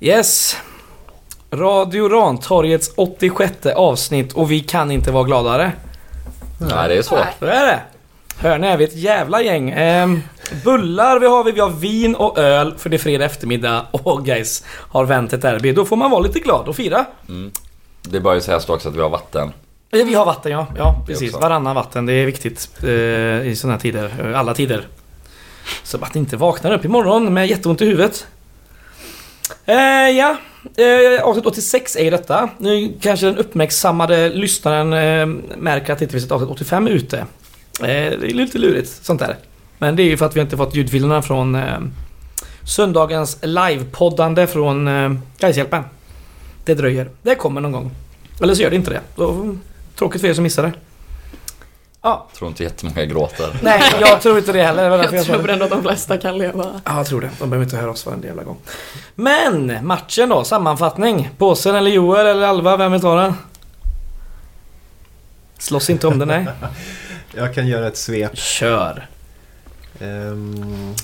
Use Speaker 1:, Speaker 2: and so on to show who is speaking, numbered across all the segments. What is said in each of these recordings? Speaker 1: Yes. Radio Rantorgets 86 avsnitt och vi kan inte vara gladare.
Speaker 2: Nej, det är svårt.
Speaker 1: Så är det. Hör ni, är vi ett jävla gäng. Ehm, bullar vi har vi, vi har vin och öl för det är fredag eftermiddag och guys har vänt ett derby. Då får man vara lite glad och fira.
Speaker 2: Det bör ju sägas då också att vi har vatten.
Speaker 1: Eh, Vi har vatten ja, ja precis.
Speaker 2: också.
Speaker 1: Varannan vatten, det är viktigt eh, i sådana här tider. eh, Alla tider. Så att inte vaknar upp imorgon med jätteont i huvudet. Eh, ja, eh, avsnitt 86 är ju detta. Nu kanske den uppmärksammade lyssnaren eh, märker att det inte finns ett avsnitt 85 ute. Eh, det är lite lurigt sånt där. Men det är ju för att vi inte fått ljudfilerna från eh, söndagens livepoddande från eh, Gaishjälpen. Det dröjer. Det kommer någon gång. Eller så gör det inte det. Då, tråkigt för er som missade. Ja,
Speaker 2: Jag tror inte jättemånga gråter.
Speaker 1: nej jag tror inte det heller. Det var därför
Speaker 3: Jag
Speaker 1: sa det.
Speaker 3: tror ändå att de flesta kan leva.
Speaker 1: Ja, jag tror det. De behöver inte höra oss varenda jävla gång. Men matchen då, sammanfattning. Påsen eller Joel eller Alva, vem vill ta den? Slåss inte om den, nej.
Speaker 4: Jag kan göra ett svep.
Speaker 1: Kör.
Speaker 4: Ehm,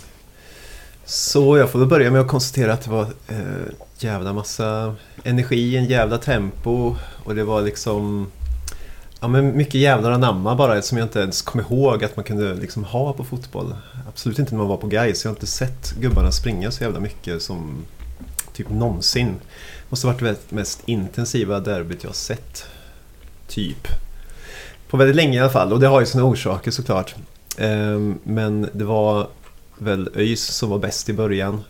Speaker 4: så jag får väl börja med att konstatera att det var eh, jävla massa energi, en jävla tempo och det var liksom ja, men mycket jävlar anamma bara som jag inte ens kom ihåg att man kunde liksom ha på fotboll. Absolut inte när man var på Gais. Jag har inte sett gubbarna springa så jävla mycket som typ någonsin. Måste ha varit det mest intensiva derbyt jag har sett. Typ. På väldigt länge i alla fall och det har ju sina orsaker såklart. Ehm, Men det var väl ÖIS som var bäst i början.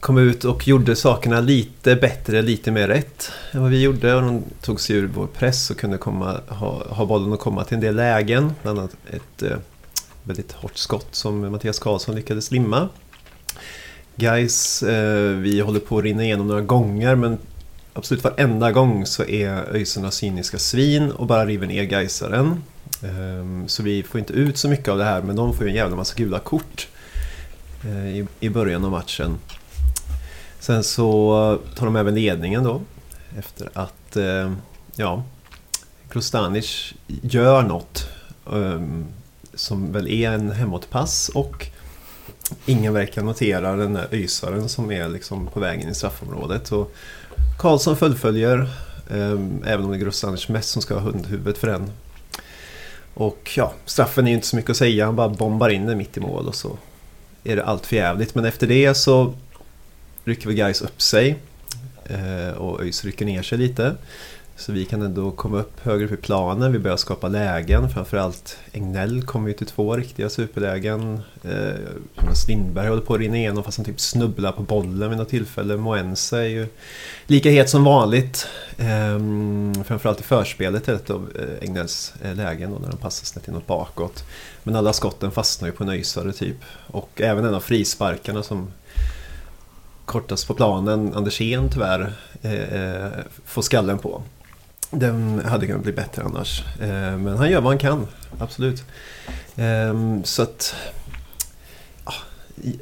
Speaker 4: Kom ut och gjorde sakerna lite bättre, lite mer rätt än vad vi gjorde. Och de tog sig ur vår press och kunde komma, ha, ha bollen och komma till en del lägen. Bland annat ett eh, väldigt hårt skott som Mattias Karlsson lyckades limma. Guys, eh, vi håller på att rinna igenom några gånger men absolut varenda gång så är ÖISarna cyniska svin och bara river ner Gaisaren. Ehm, Så vi får inte ut så mycket av det här men de får ju en jävla massa gula kort eh, i- i början av matchen. Sen så tar de även ledningen då efter att eh, ja, Krostanic gör något ehm, som väl är en hemåtpass och ingen verkar notera den där ysaren som är liksom på vägen i straffområdet. Och Karlsson fullföljer ehm, även om det är Krostanic mest som ska ha hundhuvudet för den och ja, straffen är ju inte så mycket att säga. Han bara bombar in den mitt i mål och så är det allt för jävligt. Men efter det så rycker väl Gais upp sig eh, och ÖIS rycker ner sig lite. Så vi kan ändå komma upp högre upp i planen. Vi börjar skapa lägen. Framförallt Egnell kommer ju till två riktiga superlägen. Eh, Jonas Lindberg håller på att rinna igenom fast han typ snubblar på bollen vid något tillfälle. Moense är ju lika het som vanligt. Ehm, framförallt i förspelet är ett av eh, Egnells eh, lägen då, när han passar snett inåt bakåt. Men alla skotten fastnar ju på en öysare typ. Och även en av frisparkarna som kortast på planen, Andersén tyvärr, eh, eh, får skallen på. Den hade kunnat bli bättre annars. Eh, men han gör vad han kan, absolut. Ehm, så att... ja, i-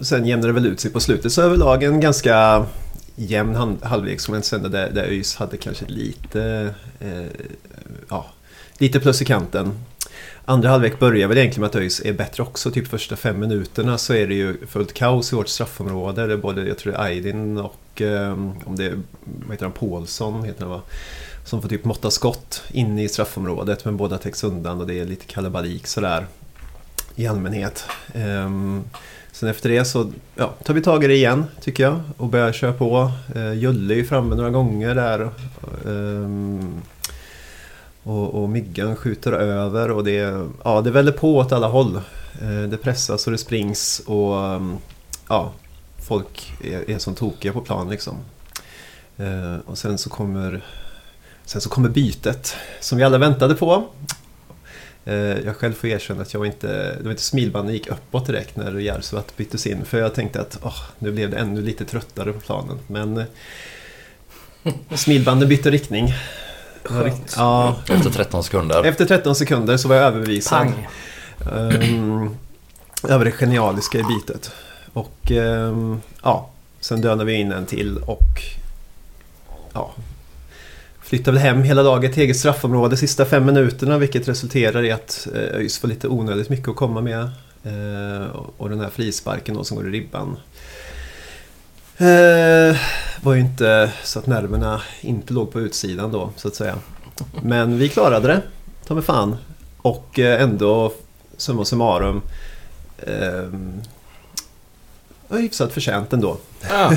Speaker 4: sen jämnar det väl ut sig på slutet. Så överlag en ganska jämn hand- halvlek som en sände där, där ÖIS hade kanske lite... Eh, ja, lite plus i kanten. Andra halvlek börjar väl egentligen med att ÖIS är bättre också. Typ första fem minuterna så är det ju fullt kaos i vårt straffområde. Det är både, jag tror det är Aydin och eh, om det är, vad heter han, Paulsson heter han va? Som får typ måtta skott inne i straffområdet men båda täcks undan och det är lite kalabalik sådär. I allmänhet. Ehm, sen efter det så ja, tar vi tag i det igen tycker jag och börjar köra på. Eh, Julle är ju framme några gånger där. Ehm, och, och myggan skjuter över och det, ja, det väller på åt alla håll. Eh, Det pressas och det springs och mm, ja, folk är, är som tokiga på plan liksom. Eh, Och sen så kommer, sen så kommer bytet som vi alla väntade på. Eh, Jag själv får erkänna att jag var inte, det var inte smilbanden gick uppåt direkt när Järvsuvat byttes in för jag tänkte att åh, nu blev det ännu lite tröttare på planen. Men eh, smilbanden bytte riktning. Det var rikt- Ja,
Speaker 2: Efter 13 sekunder.
Speaker 4: efter 13 sekunder så var jag överbevisad.
Speaker 1: Pang.
Speaker 4: Ehm, över det genialiska i bitet. Och ehm, ja, sen dönar vi in en till och ja, flyttar väl hem hela laget till eget straffområde sista fem minuterna vilket resulterar i att eh, ÖIS får lite onödigt mycket att Ehm, komma med. Eh, och- och den här frisparken då som går i ribban. Eh, var ju inte så att nerverna inte låg på utsidan då så att säga. Men vi klarade det, ta mig fan. Och eh, ändå summa summarum eh, var hyfsat förtjänt ändå.
Speaker 1: Ja.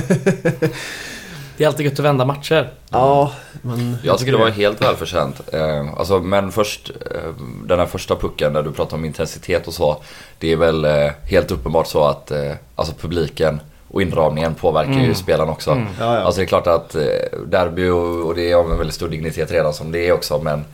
Speaker 1: Det är alltid gött att vända matcher.
Speaker 4: Ja, men...
Speaker 2: Jag tycker det var helt välförtjänt. Eh, alltså, men först, eh, den här första pucken där du pratade om intensitet och så. Det är väl eh, helt uppenbart så att eh, alltså publiken och inramningen påverkar ju
Speaker 1: Mm.
Speaker 2: spelaren också.
Speaker 1: Mm.
Speaker 4: Ja, ja.
Speaker 2: Alltså det är klart att eh, derby och, och det är av en väldigt stor dignitet redan som det är också men...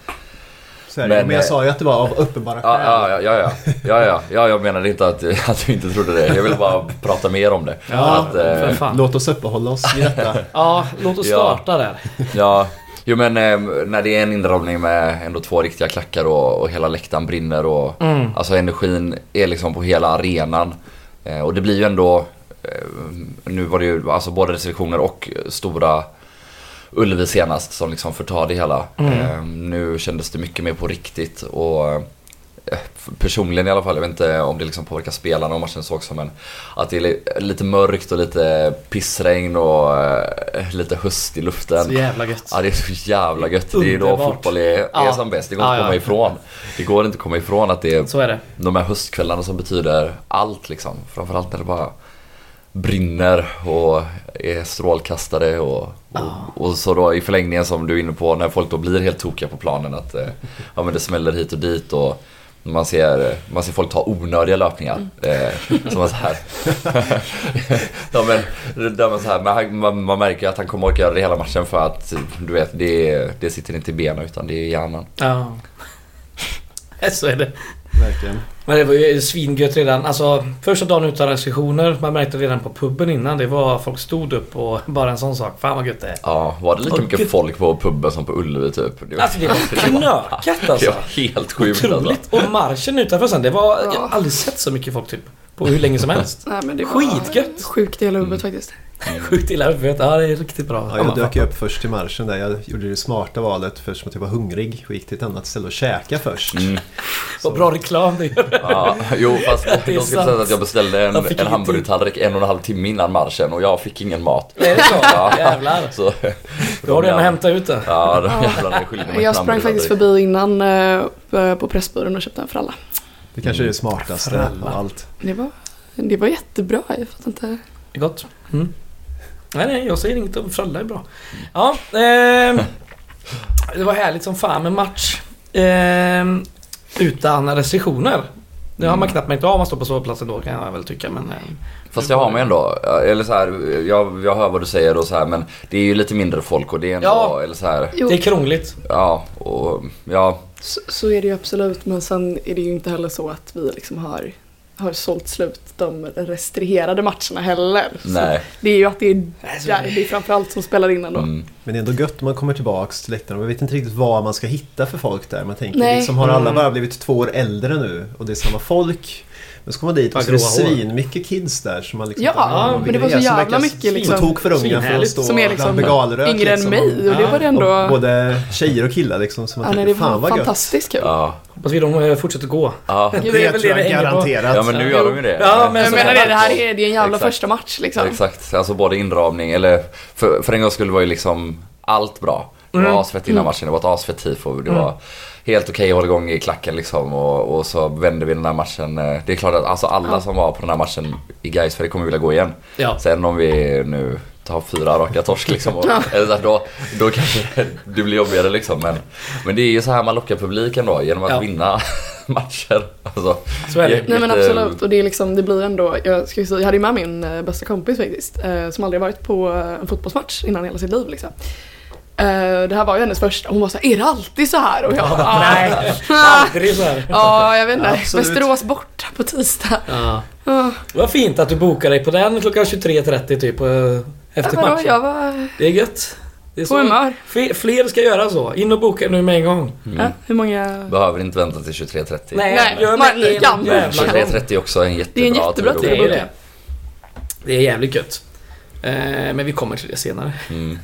Speaker 4: så är det.
Speaker 2: men,
Speaker 4: men jag
Speaker 2: eh,
Speaker 4: sa ju att det var av uppenbara
Speaker 2: Ja,
Speaker 4: skäl.
Speaker 2: ja, ja, ja, ja, ja, ja jag menade inte att, att du inte trodde det. Jag ville bara prata mer om det.
Speaker 4: Ja,
Speaker 2: att, eh,
Speaker 1: För fan.
Speaker 4: Låt oss uppehålla oss i detta.
Speaker 1: Ja, låt oss
Speaker 2: Ja.
Speaker 1: starta där.
Speaker 2: Ja, jo men eh, när det är en inramning med ändå två riktiga klackar och, och hela läktaren brinner och
Speaker 1: Mm.
Speaker 2: alltså energin är liksom på hela arenan. Eh, och det blir ju ändå, eh, nu var det ju alltså både restriktioner och stora Ullevi senast som liksom förtar det hela. Eh, nu kändes det mycket mer på riktigt och eh, personligen i alla fall, jag vet inte om det liksom påverkar spelarna och matchen så också men att det är li- lite mörkt och lite pissregn och eh, lite höst i luften.
Speaker 1: Så jävla gött.
Speaker 2: Ja det är så jävla gött. Det är ju då
Speaker 1: Underbart.
Speaker 2: fotboll är, är
Speaker 1: Ja.
Speaker 2: som bäst. Det går inte
Speaker 1: Ja,
Speaker 2: att
Speaker 1: ja.
Speaker 2: komma ifrån. Det går inte att komma ifrån att det är
Speaker 1: Så är det.
Speaker 2: de här höstkvällarna som betyder allt liksom. Framförallt när det bara brinner och är strålkastare och, och, och så då i förlängningen som du är inne på när folk då blir helt tokiga på planen att eh, ja, men det smäller hit och dit och man ser, man ser folk ta onödiga löpningar. Eh, som är så här. ja, men, där man, så här men han, man, man märker ju att han kommer att göra det hela matchen för att du vet, det, det sitter inte i benen utan det är i hjärnan.
Speaker 1: Ja. Så är det.
Speaker 4: Verkligen.
Speaker 1: Men det var ju svingött redan. Alltså första dagen utan restriktioner. Man märkte redan på puben innan. Det var folk stod upp och bara en sån sak. Fan vad gött det är.
Speaker 2: Ja, var det lika
Speaker 1: Åh,
Speaker 2: mycket
Speaker 1: gud.
Speaker 2: folk på puben som på Ullevi typ? Det var-
Speaker 1: Alltså det var knökat
Speaker 2: Det
Speaker 1: alltså.
Speaker 2: var helt sjukt alltså.
Speaker 1: Otroligt. Och marschen utanför sen. Det var... Jag har
Speaker 3: Ja.
Speaker 1: aldrig sett så mycket folk typ. På hur länge som helst.
Speaker 3: Nej, men det var
Speaker 1: Skitgött.
Speaker 3: Sjukt i hela huvudet
Speaker 2: Mm.
Speaker 3: faktiskt.
Speaker 1: Sjukt illa huvudet. Ja det är riktigt bra.
Speaker 4: Ja, jag
Speaker 1: man
Speaker 4: dök ju
Speaker 1: fattar.
Speaker 4: upp först till marschen där. Jag gjorde det smarta valet först som att jag var hungrig och gick till ett annat ställe och käkade först.
Speaker 2: Mm.
Speaker 1: Vad bra reklam det gör.
Speaker 2: Ja, jo fast jag
Speaker 1: är
Speaker 2: ska
Speaker 1: sant.
Speaker 2: säga att jag beställde en,
Speaker 1: Jag fick
Speaker 2: en
Speaker 1: ingen
Speaker 2: hamburgertallrik en och en halv timme innan marschen och jag fick ingen mat.
Speaker 1: Är det så?
Speaker 2: Ja.
Speaker 1: Jävlar.
Speaker 2: Så,
Speaker 1: Då har du en att hämta ut det.
Speaker 2: Ja, de jävlarna är skyldiga mig en
Speaker 3: Jag sprang faktiskt
Speaker 2: hamburgertallrik.
Speaker 3: förbi innan eh, på Pressbyrån och köpte en för alla.
Speaker 4: Det kanske är det smartaste
Speaker 1: Fralla.
Speaker 4: av allt.
Speaker 3: Det var, det var jättebra. Jag fattar inte.
Speaker 1: Det är gott. Mm. Nej, nej, jag säger inget om fralla är bra. Ja, ehm, det var härligt som fan med match. Ehm, utan restriktioner. Nu har man knappt märkt av man står på sovplatsen då kan jag väl tycka men... ehm,
Speaker 2: Fast jag har mig ändå. Eller så här, jag, jag hör vad du säger och så här, men det är ju lite mindre folk och det är ändå,
Speaker 1: Ja.
Speaker 2: eller så här,
Speaker 3: Jo,
Speaker 1: Det är krångligt.
Speaker 2: ja, och, ja,
Speaker 3: så, så är det ju absolut. Men sen är det ju inte heller så att vi liksom har, har sålt slut de restriherade matcherna heller. Så
Speaker 2: nej.
Speaker 3: Det är ju att det är,
Speaker 1: så är
Speaker 3: där,
Speaker 1: det.
Speaker 3: det är framförallt som spelar in ändå.
Speaker 2: Mm.
Speaker 4: Men det är ändå gött om man kommer tillbaks till läktaren. Man vet inte riktigt vad man ska hitta för folk där. Man tänker
Speaker 3: Nej.
Speaker 4: liksom, har alla
Speaker 1: Mm.
Speaker 4: bara blivit två år äldre nu och det är samma folk? Men så kommer man dit
Speaker 1: Bara
Speaker 4: och så är det
Speaker 1: gråa hår.
Speaker 4: svin, mycket kids där som man liksom
Speaker 3: Ja,
Speaker 4: tänker,
Speaker 1: men
Speaker 4: vilka
Speaker 1: det
Speaker 3: var så
Speaker 4: är som
Speaker 3: jävla
Speaker 4: verkar
Speaker 3: mycket, liksom,
Speaker 4: På tok för unga för att
Speaker 1: svinhärligt.
Speaker 4: stå
Speaker 3: Som är liksom
Speaker 4: bland bengalrök.
Speaker 3: Yngre än
Speaker 4: liksom.
Speaker 3: mig och det
Speaker 1: Ja.
Speaker 3: var det ändå...
Speaker 4: Och både tjejer och killar liksom. Som man
Speaker 3: ja, nej,
Speaker 4: tänker,
Speaker 3: det
Speaker 4: fan
Speaker 3: var
Speaker 4: vad gött.
Speaker 3: fantastiskt kul.
Speaker 2: Ja,
Speaker 1: Hoppas vi de eh, fortsätter gå.
Speaker 2: ja.
Speaker 3: Gud,
Speaker 4: Det
Speaker 3: det är
Speaker 1: väl
Speaker 4: tror jag
Speaker 1: det vi hänger på.
Speaker 4: garanterat.
Speaker 2: ja men nu gör de ju det.
Speaker 1: Alltså, Ja, men
Speaker 3: Jag
Speaker 1: så
Speaker 3: menar
Speaker 1: här-
Speaker 3: det, det här är, det är en jävla
Speaker 2: Exakt.
Speaker 3: första match liksom.
Speaker 2: Exakt, alltså både inramning eller för, för en gång skulle det var ju liksom allt bra. Det var
Speaker 1: Mm.
Speaker 2: asfett innan matchen, det var ett asfett tifo. Det var helt okej att hålla igång i klacken liksom och, och så vände vi den här matchen. Eh, Det är klart att alltså alla som var på den här matchen i Gais för det kommer vilja gå igen.
Speaker 1: Ja.
Speaker 2: Sen om vi nu tar fyra raka torsk liksom, och, eller så här, då, då kanske det blir jobbigare liksom. Men, men det är ju så här man lockar publiken då, genom att
Speaker 1: Ja.
Speaker 2: vinna matcher. Alltså,
Speaker 1: Så är det.
Speaker 3: Nej men
Speaker 2: lite-
Speaker 3: absolut, och det, är
Speaker 1: mm.
Speaker 3: liksom, det blir ändå, jag, ska ju säga, jag hade ju med min eh, bästa kompis faktiskt, eh, som aldrig varit på eh, en fotbollsmatch innan i hela sitt liv. Liksom. Eh, det här var ju hennes första, hon var såhär, är det alltid så här? Och jag bara, "Ah."
Speaker 1: Nej, aldrig så här.
Speaker 3: Ja, jag vet inte.
Speaker 4: Absolut.
Speaker 3: Västerås borta på tisdag.
Speaker 1: Ja.
Speaker 3: Ja.
Speaker 1: Det var fint att du bokade dig på den klockan 23.30 typ. eh, Efter
Speaker 3: Vadå, jag
Speaker 1: matchen.
Speaker 3: var
Speaker 1: Det är gött. Det är
Speaker 3: på humör.
Speaker 1: Fler- Fler ska göra så. In och boka nu med en gång.
Speaker 3: Ja, hur många...
Speaker 2: Behöver inte vänta till 23.30.
Speaker 3: Nej,
Speaker 1: gör
Speaker 3: man-
Speaker 1: det en
Speaker 3: gammal.
Speaker 1: jävla gång.
Speaker 2: 23.30 är också en
Speaker 3: Det är
Speaker 2: jättebra
Speaker 3: en jättebra
Speaker 2: att
Speaker 3: tid
Speaker 1: det
Speaker 3: att
Speaker 1: är
Speaker 3: boka.
Speaker 1: det. Det är jävligt gött. Eh, Men vi kommer till det senare.
Speaker 2: Mm.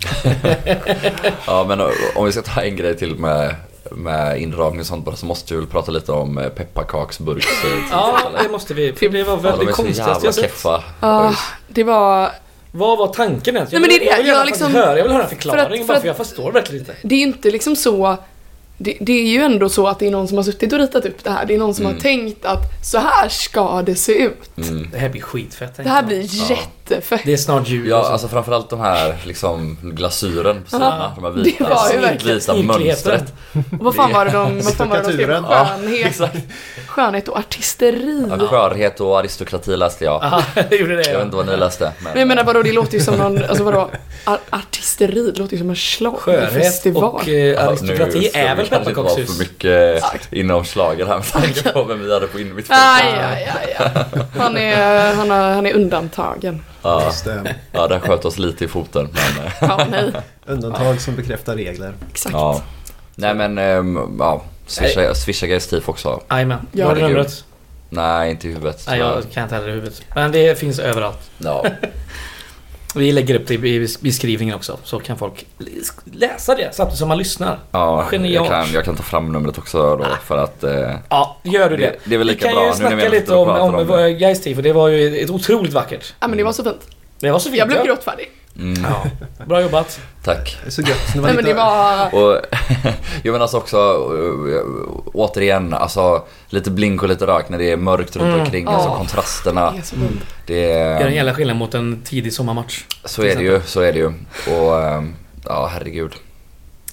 Speaker 2: ja, men eh, om vi ska ta en grej till med, med inramning och sånt bara så måste vi väl prata lite om eh, pepparkaksburks... eh,
Speaker 1: Ja, det måste vi. För det var
Speaker 2: Ja,
Speaker 1: väl
Speaker 2: de
Speaker 1: det
Speaker 2: är så
Speaker 1: konstigaste
Speaker 2: jävla
Speaker 1: jag sett.
Speaker 2: keffa.
Speaker 3: Ja, det var
Speaker 1: Vad var tanken ens? Jag
Speaker 3: Nej, men
Speaker 1: vill-
Speaker 3: det
Speaker 1: Jag
Speaker 3: är det.
Speaker 1: vill gärna
Speaker 3: Jag liksom-
Speaker 1: faktiskt höra, jag vill höra en förklaring
Speaker 3: för att-
Speaker 1: varför jag förstår verkligen inte.
Speaker 3: Det är ju inte liksom så... Det, det är ju ändå så att det är någon som har suttit och ritat upp det här. Det är någon som har tänkt att så här ska det se ut.
Speaker 1: Det här blir skitfett.
Speaker 3: Det här
Speaker 1: tänkte jag.
Speaker 3: blir jättefett.
Speaker 1: Det är snart jul.
Speaker 2: Ja,
Speaker 1: och så.
Speaker 2: alltså framförallt de här liksom glasyren på sidorna. De här
Speaker 3: det
Speaker 2: vita,
Speaker 3: var ju
Speaker 1: verkligen
Speaker 2: vita
Speaker 1: ynkligheten.
Speaker 2: mönstret.
Speaker 3: Vad fan var det de, vad fan var det de skrev?
Speaker 4: Karikaturen.
Speaker 3: Skönhet, skönhet och artisteri.
Speaker 2: Ja, skörhet och aristokrati läste jag.
Speaker 1: Aha, det gjorde det.
Speaker 2: Jag vet inte vad ni läste. Men, eh,
Speaker 3: Men jag menar vadå, det låter ju som någon, alltså vadå, ar- artisteri, det låter ju som en
Speaker 1: Skörhet
Speaker 3: schlagerfestival.
Speaker 1: och eh,
Speaker 2: Ja,
Speaker 1: aristokrati
Speaker 2: nu
Speaker 1: är väl
Speaker 2: skulle det kanske inte vara för
Speaker 1: pepparkakshus?
Speaker 2: mycket inom slager här med tanke på vem vi hade på in i mitt
Speaker 3: Aj, aj, aj, aj. Han är, han är, han är undantagen.
Speaker 2: Ja,
Speaker 4: Just det.
Speaker 2: ja, den sköt oss lite i foten. Men, eh,
Speaker 3: Ja, nej,
Speaker 4: Undantag som bekräftar regler.
Speaker 3: exakt.
Speaker 2: ja. Nej men, ehm, ja. Swisha, swisha Guys Thief också.
Speaker 1: Jajamän.
Speaker 3: Ja.
Speaker 1: Ja, har du
Speaker 2: Herregud.
Speaker 1: numret?
Speaker 2: Nej, inte i huvudet.
Speaker 1: Nej,
Speaker 2: tyvärr.
Speaker 1: jag kan inte heller i huvudet. Men det finns överallt.
Speaker 2: Ja.
Speaker 1: Vi lägger upp det i beskrivningen också, så kan folk l- läsa det samtidigt som man lyssnar.
Speaker 2: Ja, jag
Speaker 1: Genialt.
Speaker 2: kan, jag kan ta fram numret också då för att... Eh,
Speaker 1: Ja, gör du det.
Speaker 2: det, det är väl
Speaker 1: Vi
Speaker 2: lika
Speaker 1: kan
Speaker 2: bra.
Speaker 1: ju
Speaker 2: nu när vi
Speaker 1: snacka
Speaker 2: ändå
Speaker 1: lite
Speaker 2: sitter och
Speaker 1: om,
Speaker 2: pratar
Speaker 1: om, eh,
Speaker 2: det.
Speaker 1: om Guys Tifo. Det var ju ett otroligt vackert.
Speaker 3: Ja, men det var så fint.
Speaker 1: Det var så fint.
Speaker 3: Jag blev
Speaker 1: ja.
Speaker 3: gråtfärdig.
Speaker 2: Mm,
Speaker 1: Ja, bra jobbat.
Speaker 2: tack.
Speaker 4: Så gött. Så när man
Speaker 3: Nej men det
Speaker 4: hittar-
Speaker 3: var...
Speaker 2: Och jag menar alltså också eh, återigen, alltså lite blink och lite rök när det är mörkt
Speaker 1: Mm.
Speaker 2: runt omkring. Alltså
Speaker 3: Ja.
Speaker 2: kontrasterna.
Speaker 3: Det är så fint.
Speaker 2: Det
Speaker 1: Gör en
Speaker 2: är,
Speaker 1: jävla skillnad mot en tidig sommarmatch.
Speaker 2: så är det ju, så är det ju. Och eh, ja, herregud.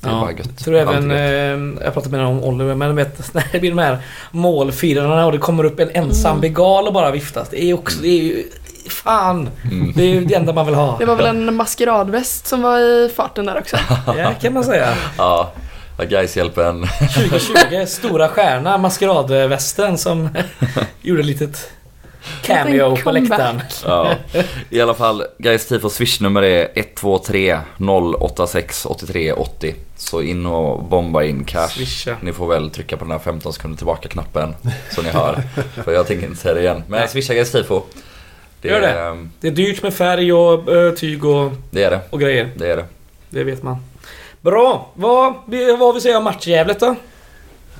Speaker 2: Det är
Speaker 1: Ja,
Speaker 2: bara gött.
Speaker 1: Tror även,
Speaker 2: Alltid gött.
Speaker 1: eh, jag pratade med någon om Oliver, men vet, när det blir de här målfirarna och det kommer upp en ensam
Speaker 3: Mm.
Speaker 1: bengal och bara viftas. Det är ju också, det är ju, fan.
Speaker 2: Mm.
Speaker 1: Det är ju det enda man vill ha.
Speaker 3: Det var väl en maskeradväst som var i farten där också.
Speaker 1: Ja, kan man säga.
Speaker 2: Ja, ja, guys hjälper en.
Speaker 1: 2020, stora stjärna, maskeradvästen som gjorde ett litet cameo
Speaker 3: Liten
Speaker 1: på
Speaker 3: comeback.
Speaker 1: läktaren.
Speaker 2: Ja. I alla fall, Guys Tifos swishnummer är 123 086 83 80. Så in och bomba in cash.
Speaker 1: Swisha.
Speaker 2: Ni får väl trycka på den här 15 sekunder tillbaka knappen så ni hör. För jag tänker inte säga det igen. Men
Speaker 1: Nej.
Speaker 2: swisha Guys Tifo. Det,
Speaker 1: Gör det.
Speaker 2: är-
Speaker 1: Det är dyrt med färg och eh, tyg och,
Speaker 2: Det är det.
Speaker 1: och grejer.
Speaker 2: Det är det.
Speaker 1: Det vet man. Bra! Vad, vad vill säga om matchjävlet då? Äh,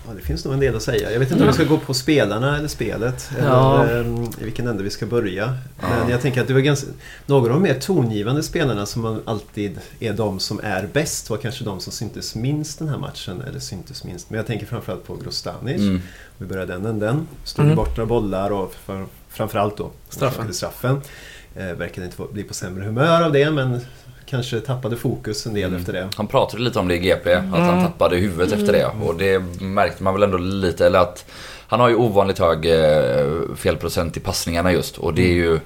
Speaker 4: Ja, det finns nog en del att säga. Jag vet inte om vi ska gå på spelarna eller spelet. Eller
Speaker 1: Ja.
Speaker 4: ehm, i vilken ände vi ska börja. Men jag tänker att det var ganska... Några av de mer tongivande spelarna som man alltid är de som är bäst var kanske de som syntes minst den här matchen. Eller syntes minst. Men jag tänker framförallt på Grostanic.
Speaker 2: Mm.
Speaker 4: Vi börjar den änden. Stod
Speaker 1: Mm.
Speaker 4: borta bollar och för, framförallt då
Speaker 1: Straffen.
Speaker 4: orsakade straffen. Eh, verkade inte få- bli på sämre humör av det men kanske tappade fokus en del efter det.
Speaker 2: Han pratade lite om det i GP, att
Speaker 1: Mm.
Speaker 2: han tappade huvudet efter det. Och det märkte man väl ändå lite. Eller att han har ju ovanligt hög eh, felprocent i passningarna just. Och det
Speaker 1: Mm.
Speaker 2: är ju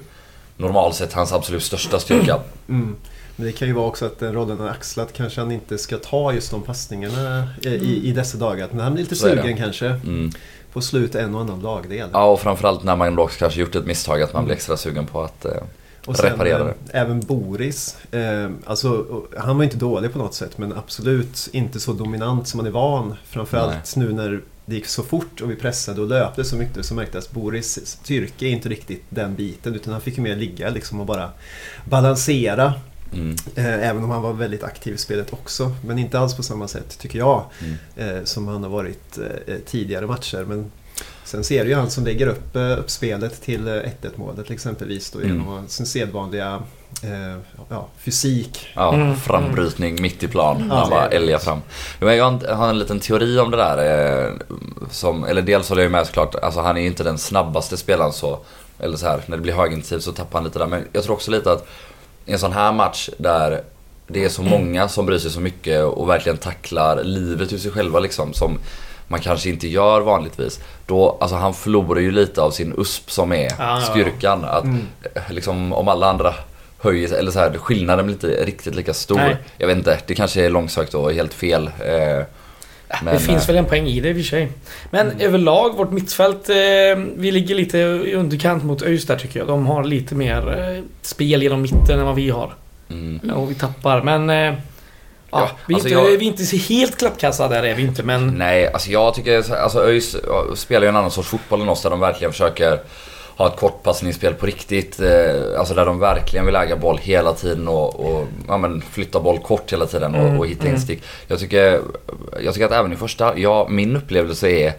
Speaker 2: normalt sett hans absolut största styrka.
Speaker 4: Mm. Men det kan ju vara också att den rollen han axlat kanske han inte ska ta just de passningarna eh, i, i dessa dagar. Men han blir lite
Speaker 2: Mm. Så är det.
Speaker 4: sugen kanske
Speaker 2: Mm.
Speaker 4: på slut en och annan lagdel.
Speaker 2: Ja, och framförallt när man då också kanske gjort ett misstag att man blir extra sugen på att... Eh,
Speaker 4: och sen
Speaker 2: reparera
Speaker 4: eh,
Speaker 2: det.
Speaker 4: även Boris. Eh, alltså, och- han var inte dålig på något sätt men absolut inte så dominant som man är van. Framförallt nu när det gick så fort och vi pressade och löpte så mycket så märktes Boris styrka är inte riktigt den biten utan han fick ju mer ligga liksom och bara balansera
Speaker 2: mm,
Speaker 4: Eh, Även om han var väldigt aktiv i spelet också. Men inte alls på samma sätt, tycker jag,
Speaker 2: Mm.
Speaker 4: eh, som han har varit eh, tidigare matcher. Men sen ser du ju han som lägger upp, eh, upp spelet till eh, 1-1 målet exempelvis. Då,
Speaker 2: Mm.
Speaker 4: Genom sin sedvanliga eh, ja, fysik.
Speaker 2: ja,
Speaker 1: Mm,
Speaker 2: frambrytning mitt i plan. Han
Speaker 4: Ja.
Speaker 2: bara älgar fram. Jo, men Jag har en- jag har en liten teori om det där. Eh, som, eller dels håller jag med såklart, alltså han är ju inte den snabbaste spelaren så. Eller så här, när det blir högintensivt så tappar han lite där. Men jag tror också lite att i en sån här match där det är så
Speaker 1: Mm.
Speaker 2: många som bryr sig så mycket och verkligen tacklar livet ur sig själva liksom. Som, man kanske inte gör vanligtvis. Då, alltså han förlorar ju lite av sin USP som är
Speaker 1: Ah, ja, ja.
Speaker 2: styrkan. Att,
Speaker 4: Mm.
Speaker 2: eh, liksom, om alla andra höjer sig, eller så här, skillnaden blir inte riktigt lika stor.
Speaker 1: Nej.
Speaker 2: Jag vet inte, det kanske är långsökt och helt fel. Eh, men,
Speaker 1: det finns
Speaker 2: eh, Mm.
Speaker 1: väl en poäng i det i och för sig. Men överlag, vårt mittfält, eh, vi ligger lite i underkant mot ÖIS där tycker jag. De har lite mer eh, spel genom mitten än vad vi har.
Speaker 2: Mm.
Speaker 1: Och vi tappar, men... Eh, ja,
Speaker 2: Ja,
Speaker 1: vi, är
Speaker 2: alltså
Speaker 1: inte,
Speaker 2: jag-
Speaker 1: vi är inte så helt klappkassa där är vi inte, men...
Speaker 2: Nej, alltså jag tycker så- alltså ÖIS ja, spelar ju en annan sorts fotboll än oss där de verkligen försöker ha ett kortpassningsspel på riktigt. Eh, alltså där de verkligen vill äga boll hela tiden och, och ja, men flytta boll kort hela tiden och, och hitta instick. Jag tycker, jag tycker att även i första, ja min upplevelse är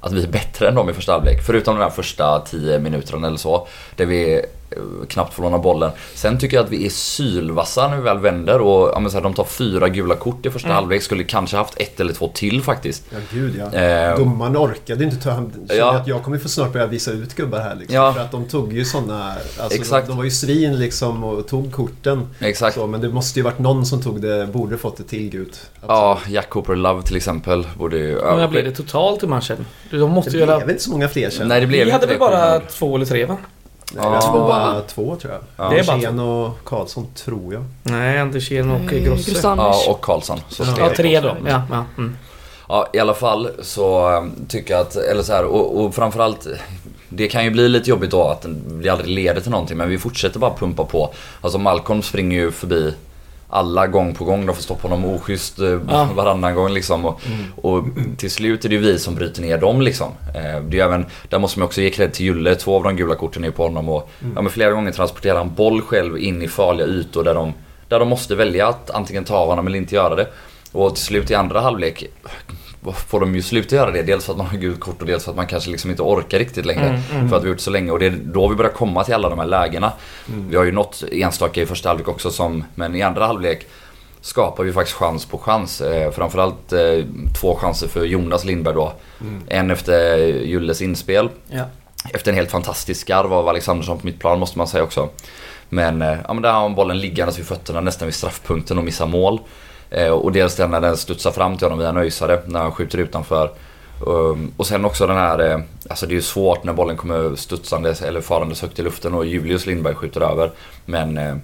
Speaker 2: att vi är bättre än dem i första halvlek. Förutom de här första 10 minuterna eller så. Där vi eh, knappt får låna bollen. Sen tycker jag att vi är sylvassa när vi väl vänder och ja, men så här, de tar fyra gula kort i första
Speaker 1: Mm.
Speaker 2: halvlek. Skulle kanske haft ett eller två till faktiskt.
Speaker 4: Ja, gud ja.
Speaker 2: Eh,
Speaker 4: Domaren orkade ju inte ta hand kände
Speaker 2: Ja.
Speaker 4: att Jag kommer ju få snart börja visa ut gubbar här liksom.
Speaker 2: Ja.
Speaker 4: För att de tog ju sådana... Alltså,
Speaker 2: Exakt.
Speaker 4: De, de var ju svin liksom och tog korten.
Speaker 2: Exakt.
Speaker 4: Så, men det måste ju varit någon som tog det, borde fått det till gult.
Speaker 2: Ja, Jack Cooper Love till exempel borde ju...
Speaker 1: Hur många blev det totalt i matchen? De måste
Speaker 4: Det
Speaker 1: ju
Speaker 4: blev
Speaker 1: göra...
Speaker 4: inte så många fler sen.
Speaker 2: Nej, det blev
Speaker 1: Vi hade
Speaker 2: inte
Speaker 1: väl
Speaker 2: det,
Speaker 1: bara
Speaker 2: Cooper Love.
Speaker 1: två eller tre va?
Speaker 4: Nej,
Speaker 2: Ja.
Speaker 4: det var bara två tror jag.
Speaker 2: Ja.
Speaker 1: Det
Speaker 4: Det
Speaker 1: är bara
Speaker 4: och Karlsson tror jag.
Speaker 1: Nej, Andersén och
Speaker 3: Eh,
Speaker 1: Grosse.
Speaker 2: Ja,
Speaker 3: Anders.
Speaker 2: och Karlsson. Så
Speaker 4: Ja.
Speaker 2: steg.
Speaker 1: Ja, tre då. Ja, ja. Mm.
Speaker 2: Ja, i alla fall så eh, tycker jag att, eller så här, och, och framförallt det kan ju bli lite jobbigt då att det aldrig leder till någonting men vi fortsätter bara pumpa på. Alltså Malcolm springer ju förbi alla gång på gång, de får stoppa honom oschysst eh,
Speaker 1: Ja.
Speaker 2: varannan gång liksom. Och, och till slut är det ju vi som bryter ner dem liksom. Eh, Det är ju även, där måste man också ge cred till Julle, två av de gula korten är ju på honom och ja, men flera gånger transporterar han boll själv in i farliga ytor där de, där de måste välja att antingen ta av honom eller inte göra det. Och till slut i andra halvlek får de ju sluta göra det. Dels för att man har gult kort och dels för att man kanske liksom inte orkar riktigt längre. För att vi har gjort så länge och det är då vi börjar komma till alla de här lägena. Vi har ju något enstaka i första halvlek också som, men i andra halvlek skapar vi faktiskt chans på chans. Eh, framförallt eh, två chanser för Jonas Lindberg då. En efter Julles inspel.
Speaker 1: Ja.
Speaker 2: Efter en helt fantastisk skarv av Alexandersson på mitt plan måste man säga också. Men, eh, ja, men där har han bollen liggandes vid fötterna nästan vid straffpunkten och missar mål. Eh, och dels den när den studsar fram till honom via en öjsare när han skjuter utanför. Um, och sen också den här, eh, alltså det är ju svårt när bollen kommer studsandes eller farandes högt i luften och Julius Lindberg skjuter över. Men eh,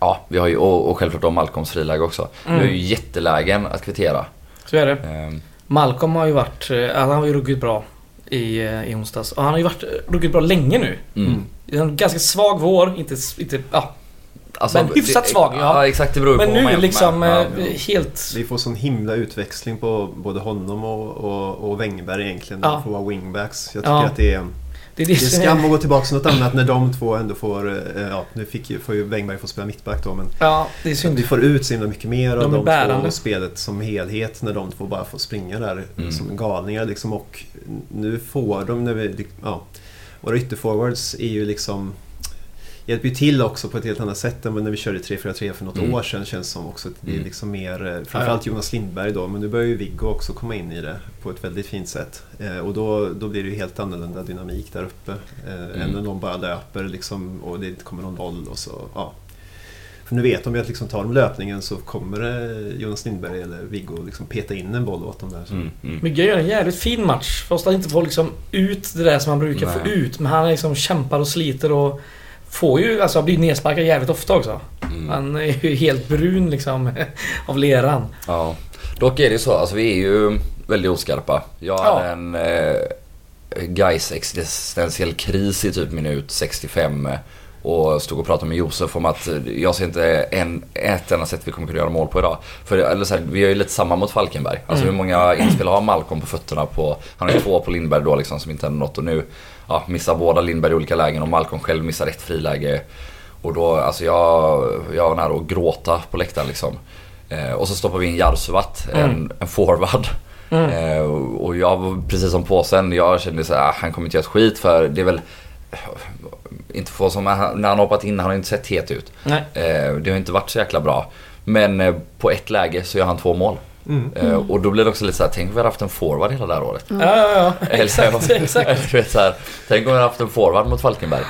Speaker 2: ja, vi har ju, och, och självklart då Malcolms friläge också.
Speaker 1: Mm.
Speaker 2: Vi har ju jättelägen att kvittera.
Speaker 1: Så är det.
Speaker 2: Eh,
Speaker 1: Malcolm har ju varit... eh, Han har ju ruggigt bra i, eh, i onsdags. Och han har ju varit eh, ruggigt bra länge nu.
Speaker 2: mm.
Speaker 1: Det är En ganska svag vår. Inte... s- inte ja.
Speaker 2: Alltså,
Speaker 1: Men hyfsat
Speaker 2: det-
Speaker 1: svag, ja.
Speaker 2: ja. exakt, det beror ju
Speaker 1: Men
Speaker 2: på vad man
Speaker 1: nu
Speaker 2: jämför
Speaker 1: liksom
Speaker 2: med.
Speaker 1: eh,
Speaker 2: Ja.
Speaker 1: helt...
Speaker 4: Vi får sån himla utväxling på både honom och, och, och Wängberg egentligen. När
Speaker 1: Ja.
Speaker 4: de får vara wingbacks. Jag tycker
Speaker 1: Ja.
Speaker 4: att det är,
Speaker 1: Det är det
Speaker 4: det är
Speaker 1: som
Speaker 4: skam
Speaker 1: är...
Speaker 4: att gå tillbaka till något annat när de två ändå får... eh, Ja, nu fick ju, får ju Wängberg få spela mittback då men
Speaker 1: Ja, det är synd.
Speaker 4: vi får ut så himla mycket mer
Speaker 1: De är
Speaker 4: av de, två
Speaker 1: bärande.
Speaker 4: och spelet som helhet när de två bara får springa där
Speaker 2: Mm.
Speaker 4: som galningar liksom och nu får de, när vi, ja, våra ytterforwards är ju liksom hjälper ju till också på ett helt annat sätt än när vi körde 3-4-3 för något
Speaker 2: Mm.
Speaker 4: år sedan känns som också. att Det är
Speaker 2: Mm.
Speaker 4: liksom mer, eh, framförallt Jonas Lindberg då, men nu börjar ju Viggo också komma in i det på ett väldigt fint sätt. Eh, och då, då blir det ju helt annorlunda dynamik där uppe. Eh, Än
Speaker 2: Mm.
Speaker 4: när de bara löper liksom, och det inte kommer någon boll och så, ja. För nu vet de ju att liksom tar de löpningen så kommer eh, Jonas Lindberg eller Viggo liksom peta in en boll åt dem där. Så.
Speaker 2: Mm, mm.
Speaker 1: Myggan gör en jävligt fin match. Fast han inte får liksom ut det där som han brukar få
Speaker 2: Nej.
Speaker 1: ut. Men han liksom kämpar och sliter och... Får ju... Alltså han blir nedsparkad jävligt ofta också.
Speaker 2: Mm.
Speaker 1: Han är ju helt brun liksom av leran.
Speaker 2: Ja. Dock är det ju så, alltså vi är ju väldigt oskarpa. Jag
Speaker 1: Ja.
Speaker 2: hade en eh, guys existentiell kris i typ minut 65 eh, och stod och pratade med Josef om att eh, jag ser inte en, ett enda sätt vi kommer kunna göra mål på idag. För eller så här, vi är ju lite samma mot Falkenberg. Alltså hur många inspel har Malcolm på fötterna på... Han har ju två på Lindberg då liksom som inte hände något och nu ja, missar båda Lindberg i olika lägen och Malcolm själv missar ett friläge. Och då, alltså jag, jag var nära att gråta på läktaren liksom. Eh, och så stoppar vi in Jarsuvat,
Speaker 1: Mm.
Speaker 2: en, en forward. Eh, och och jag, var precis som påsen, jag kände så här, "Ah, han kommer inte göra ett skit för det är väl... eh, Inte få som när han hoppat in, han har inte sett het ut.
Speaker 1: Nej.
Speaker 2: Eh, det har inte varit så jäkla bra. Men eh, på ett läge så gör han två mål.
Speaker 1: Mm.
Speaker 2: Eh, och då blir det också lite så här, tänk om vi hade haft en forward hela det här året.
Speaker 1: Ja, ja, ja.
Speaker 2: Eller så här,
Speaker 1: Exakt, exakt.
Speaker 2: du vet, så här, tänk om vi hade haft en forward mot Falkenberg.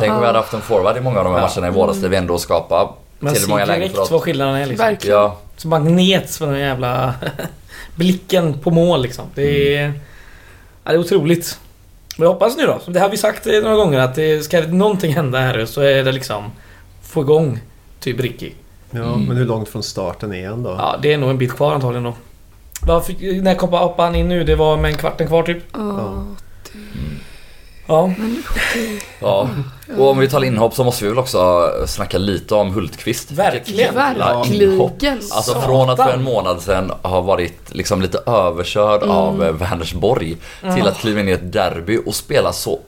Speaker 2: Tänk om vi hade haft en forward i många av de här
Speaker 1: Ja.
Speaker 2: matcherna i våras där vi ändå skapar
Speaker 1: Man
Speaker 2: till många
Speaker 1: ser
Speaker 2: lägen
Speaker 1: direkt vad
Speaker 2: för
Speaker 1: skillnaden är liksom.
Speaker 3: Verkligen.
Speaker 2: Ja,
Speaker 1: Som magnet för den jävla blicken på mål liksom. Det
Speaker 2: Mm.
Speaker 1: är, ja, det är otroligt. Men jag hoppas nu då, som det har vi sagt eh, några gånger att det ska någonting hända här så är det liksom få igång typ Ricky.
Speaker 4: Ja,
Speaker 2: Mm.
Speaker 4: Men hur långt från starten är han då?
Speaker 1: Ja, det är nog en bit kvar antagligen då. Varför, när kom- hoppade han in nu? Det var med en kvarten kvar typ.
Speaker 3: Ja.
Speaker 1: Ja.
Speaker 2: ja. Och om vi talar inhopp så måste vi väl också snacka lite om Hultqvist.
Speaker 1: Verkligen.
Speaker 2: Jävla inhopp.
Speaker 3: Verkligen.
Speaker 2: Alltså
Speaker 1: Satan.
Speaker 2: från att för en månad sedan ha varit liksom lite överkörd av
Speaker 1: Mm.
Speaker 2: eh, Vänersborg till att kliva in i ett derby och spela så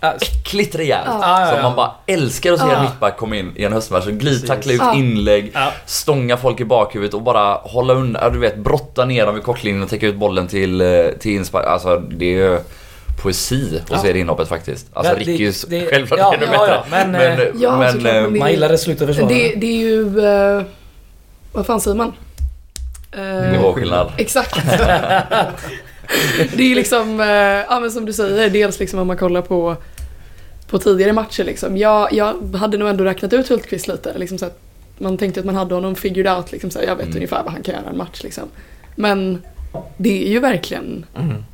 Speaker 1: Alltså,
Speaker 2: äckligt rejält.
Speaker 1: Ja. Ah.
Speaker 2: Som man bara älskar att se
Speaker 3: Ja.
Speaker 2: en mittback komma in i en höstmatch och glidtackla ut
Speaker 3: Ja.
Speaker 2: inlägg,
Speaker 1: Ja.
Speaker 2: stånga folk i bakhuvudet och bara hålla undan, ja, du vet brotta ner dem vid kortlinjen och täcka ut bollen till, eh, till inspark. Alltså det är ju poesi och så
Speaker 1: Ja.
Speaker 2: är det inhoppet faktiskt. Alltså
Speaker 1: Ja, det-
Speaker 2: Rickys
Speaker 1: det-
Speaker 2: självklart
Speaker 1: ja,
Speaker 2: ännu
Speaker 1: ja,
Speaker 2: bättre.
Speaker 1: ja, men, eh,
Speaker 3: Ja,
Speaker 2: men,
Speaker 3: såklart,
Speaker 2: eh,
Speaker 3: men det-
Speaker 1: Man gillar det slut och försvara.
Speaker 3: Det, det är ju... eh, vad fan säger man? Eh,
Speaker 2: mm, nivåskillnad.
Speaker 3: Exakt. det är ju liksom, eh, ja men som du säger, dels liksom om man kollar på, på tidigare matcher liksom. Jag, jag hade nog ändå räknat ut Hultqvist lite. Liksom så att man tänkte att man hade honom figured out, liksom så här, jag vet
Speaker 2: Mm.
Speaker 3: ungefär vad han kan göra i en match liksom. Men det är ju verkligen
Speaker 1: Mm.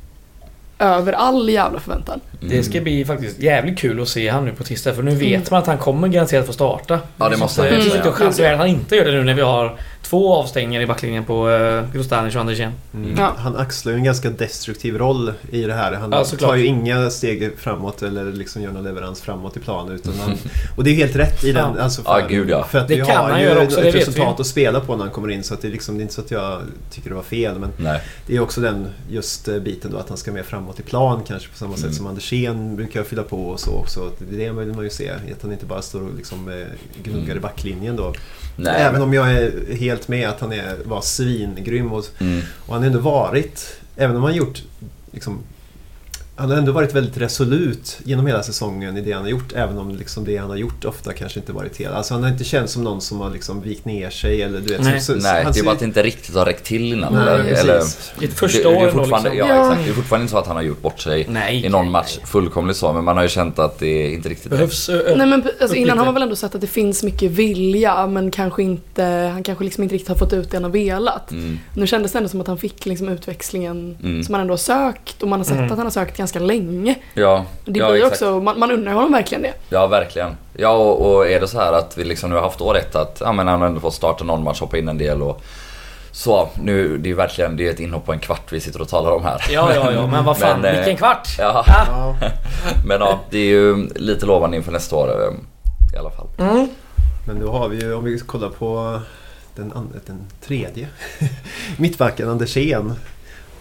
Speaker 3: över all jävla förväntan.
Speaker 1: Det
Speaker 2: Mm.
Speaker 1: ska bli faktiskt jävligt kul att se han nu på tisdag för nu vet man att han kommer garanterat få starta.
Speaker 2: Ja, det måste han
Speaker 1: han. Jag
Speaker 2: ju
Speaker 1: tycker
Speaker 2: säga.
Speaker 1: inte jag chansar att han inte gör det nu när vi har två avstängningar i backlinjen på uh, Grostanic och Andersén.
Speaker 4: Mm.
Speaker 3: Ja.
Speaker 4: Han axlar ju en ganska destruktiv roll i det här. Han
Speaker 1: Ja, såklart.
Speaker 4: tar ju inga steg framåt eller liksom gör någon leverans framåt i planen. Utan han, och det är helt rätt i den.
Speaker 1: Ja.
Speaker 4: Alltså
Speaker 2: Mm. Ja, gud, ja.
Speaker 4: För att
Speaker 1: Det
Speaker 4: vi
Speaker 1: kan
Speaker 4: har
Speaker 1: han
Speaker 4: ju
Speaker 1: göra också, det
Speaker 4: ett
Speaker 1: vet vi.
Speaker 4: resultat att spela på när han kommer in. Så att det, är liksom, det är inte så att jag tycker det var fel. Men
Speaker 2: Nej.
Speaker 4: det är också den just eh, biten då att han ska mer framåt i plan kanske på samma sätt
Speaker 2: Mm.
Speaker 4: som Andersén brukar fylla på och så också. Det är det vill man ju se. Att han inte bara står och liksom eh, gnuggar
Speaker 2: Mm.
Speaker 4: i backlinjen då.
Speaker 2: Nej.
Speaker 4: Även om jag är helt med att han är, var svingrym och
Speaker 2: Mm.
Speaker 4: och han har ändå varit, även om han gjort, liksom, han har ändå varit väldigt resolut genom hela säsongen i det han har gjort. Även om liksom det han har gjort ofta kanske inte varit helt... Alltså han har inte känts som någon som har liksom vikt ner sig eller du vet...
Speaker 1: Nej.
Speaker 4: så, så,
Speaker 2: Nej,
Speaker 4: han
Speaker 2: det är
Speaker 4: ser-
Speaker 2: bara att det inte riktigt har räckt till innan.
Speaker 4: Nej,
Speaker 2: eller,
Speaker 4: precis.
Speaker 2: eller,
Speaker 1: Det är ett första
Speaker 2: det, det
Speaker 1: år
Speaker 2: är
Speaker 1: ändå
Speaker 2: fortfarande,
Speaker 1: liksom.
Speaker 2: ja, exakt. Det är fortfarande inte så att han har gjort bort sig
Speaker 1: Nej.
Speaker 2: i någon match fullkomligt så. Men man har ju känt att det inte riktigt
Speaker 1: Behövs eh, ö-
Speaker 3: Nej men alltså,
Speaker 1: lite.
Speaker 3: innan har man väl ändå sett att det finns mycket vilja men kanske inte, han kanske liksom inte riktigt har fått ut det han har velat.
Speaker 2: Mm.
Speaker 3: Nu kändes det ändå som att han fick liksom utväxlingen
Speaker 2: Mm.
Speaker 3: som han ändå har sökt och man har sett
Speaker 1: Mm.
Speaker 3: att han har sökt ganska länge.
Speaker 2: Ja,
Speaker 3: Det
Speaker 2: ja,
Speaker 3: blir ju
Speaker 2: exakt.
Speaker 3: också, man, man undrar honom verkligen det.
Speaker 2: Ja, verkligen. Ja, och, och är det så här att vi liksom nu har haft år ett att ja, men han har ändå fått starta någon match, hoppa in en del och så. Nu, det är ju verkligen det är ett inhopp på en kvart vi sitter och talar om här.
Speaker 1: Ja, ja, ja, men vad fan,
Speaker 2: Men, eh,
Speaker 1: vilken kvart!
Speaker 2: Ja,
Speaker 4: Ja,
Speaker 2: men ja, det är ju lite lovande inför nästa år eh, i alla fall.
Speaker 1: Mm.
Speaker 4: men då har vi ju, om vi kollar på den, an- den tredje mittbacken Andersén.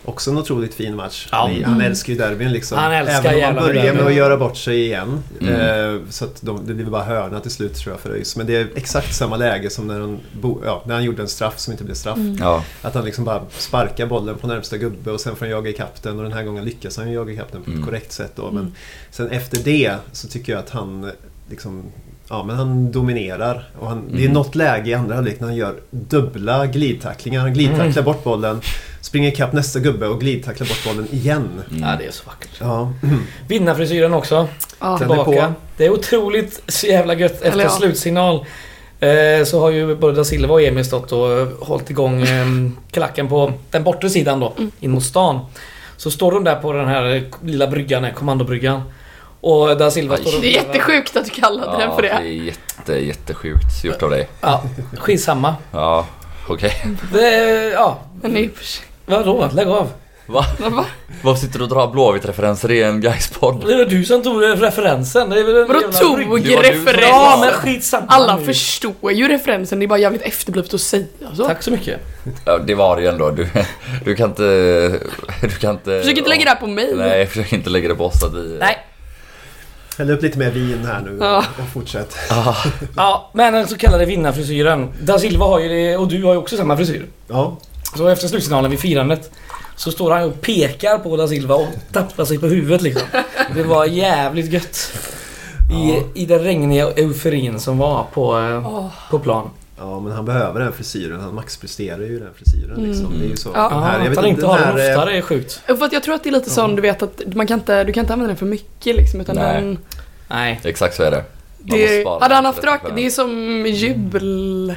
Speaker 4: Också en otroligt fin match.
Speaker 1: Ja. Mm.
Speaker 4: Han, är- han älskar ju derbyn liksom.
Speaker 1: Han älskar
Speaker 4: Även om
Speaker 1: jävla
Speaker 4: han börjar med
Speaker 1: derby.
Speaker 4: att göra bort sig igen.
Speaker 2: Mm.
Speaker 4: Eh, så att de, det blir bara hörna till slut tror jag för ÖIS. Men det är exakt samma läge som när han, bo, ja, när han gjorde en straff som inte blev straff.
Speaker 1: Mm.
Speaker 2: Ja,
Speaker 4: Att han liksom bara sparkar bollen på närmsta gubbe och sen får han jaga ikapp den och den här gången lyckas han ju jaga ikapp den på
Speaker 2: Mm.
Speaker 4: ett korrekt sätt då. Men
Speaker 3: Mm.
Speaker 4: sen efter det så tycker jag att han eh, liksom Ja men han dominerar. Och han, Det är
Speaker 2: Mm.
Speaker 4: något läge i andra halvlek när han gör dubbla glidtacklingar. Han glidtacklar
Speaker 1: Mm.
Speaker 4: bort bollen, springer ikapp nästa gubbe och glidtacklar bort bollen igen.
Speaker 1: Ja, det är så vackert.
Speaker 4: Ja,
Speaker 1: Vinnarfrisyren också.
Speaker 3: Ja.
Speaker 4: Den är
Speaker 1: tillbaka.
Speaker 4: på.
Speaker 1: Det är otroligt så jävla gött. Efter
Speaker 3: Eller ja.
Speaker 1: slutsignal eh, så har ju både da Silva och Emil stått och eh, hållit igång eh, klacken på den bortre sidan då,
Speaker 3: Mm.
Speaker 1: in mot stan. Så står de där på den här eh, lilla bryggan, här, kommandobryggan. Och da Silva
Speaker 2: Aj.
Speaker 1: står och...
Speaker 3: Det är jättesjukt att du kallade den
Speaker 2: ja,
Speaker 3: för
Speaker 2: det är
Speaker 3: det.
Speaker 2: jätte, jättesjukt gjort av dig.
Speaker 1: Ja, skitsamma.
Speaker 2: Ja, okej.
Speaker 1: Det, ja,
Speaker 3: Men det är ju för sig-
Speaker 1: vadå? Lägg av.
Speaker 2: Va?
Speaker 3: Men va?
Speaker 2: Varför sitter du och drar Blåvitt-referenser i en Gais-podd?
Speaker 1: Det var du som tog referensen. Det är väl en
Speaker 3: Vadå
Speaker 1: jävla
Speaker 3: tog
Speaker 1: brygga.
Speaker 2: du som
Speaker 3: referens?
Speaker 1: Ja, men skitsamma.
Speaker 3: Alla
Speaker 1: nu.
Speaker 3: förstår ju referensen, det är bara jävligt efterblivet att säga så.
Speaker 1: Tack så mycket.
Speaker 2: Ja, det var det ju ändå. Du, du kan inte... Du kan inte...
Speaker 3: Försök inte lägga det här på mig.
Speaker 2: Nej, försök inte lägga det på oss att vi...
Speaker 1: Nej.
Speaker 4: häll upp lite mer vin här nu
Speaker 3: Ja.
Speaker 4: och fortsätt.
Speaker 2: Ah,
Speaker 1: Ja, men den så kallade vinnarfrisyren. Da Silva har ju det, och du har ju också samma frisyr.
Speaker 4: Ja,
Speaker 1: Så efter slutsignalen vid firandet så står han och pekar på da Silva och tappar sig på huvudet liksom. Det var jävligt gött. I, I den regniga euforin som var på, eh,
Speaker 3: Åh.
Speaker 1: på plan.
Speaker 4: Ja men han behöver den frisyren, han maxpresterar ju den frisyren liksom. Det är ju så.
Speaker 3: Mm. Ja.
Speaker 4: Den
Speaker 1: Ja,
Speaker 4: jag
Speaker 1: Ah, att
Speaker 4: vet
Speaker 1: han inte
Speaker 4: den
Speaker 1: har den
Speaker 4: här, eh,
Speaker 1: oftare är sjukt.
Speaker 3: Och För att jag tror att det är lite sån, du vet att man kan inte, du kan inte använda den för mycket liksom utan
Speaker 2: Nej.
Speaker 3: den,
Speaker 1: Nej.
Speaker 2: Exakt så är det. Man måste
Speaker 3: det,
Speaker 2: spara
Speaker 3: Hade
Speaker 2: den
Speaker 3: han haft
Speaker 2: för detta
Speaker 3: rak,
Speaker 2: tillfälle.
Speaker 3: det är som jubel.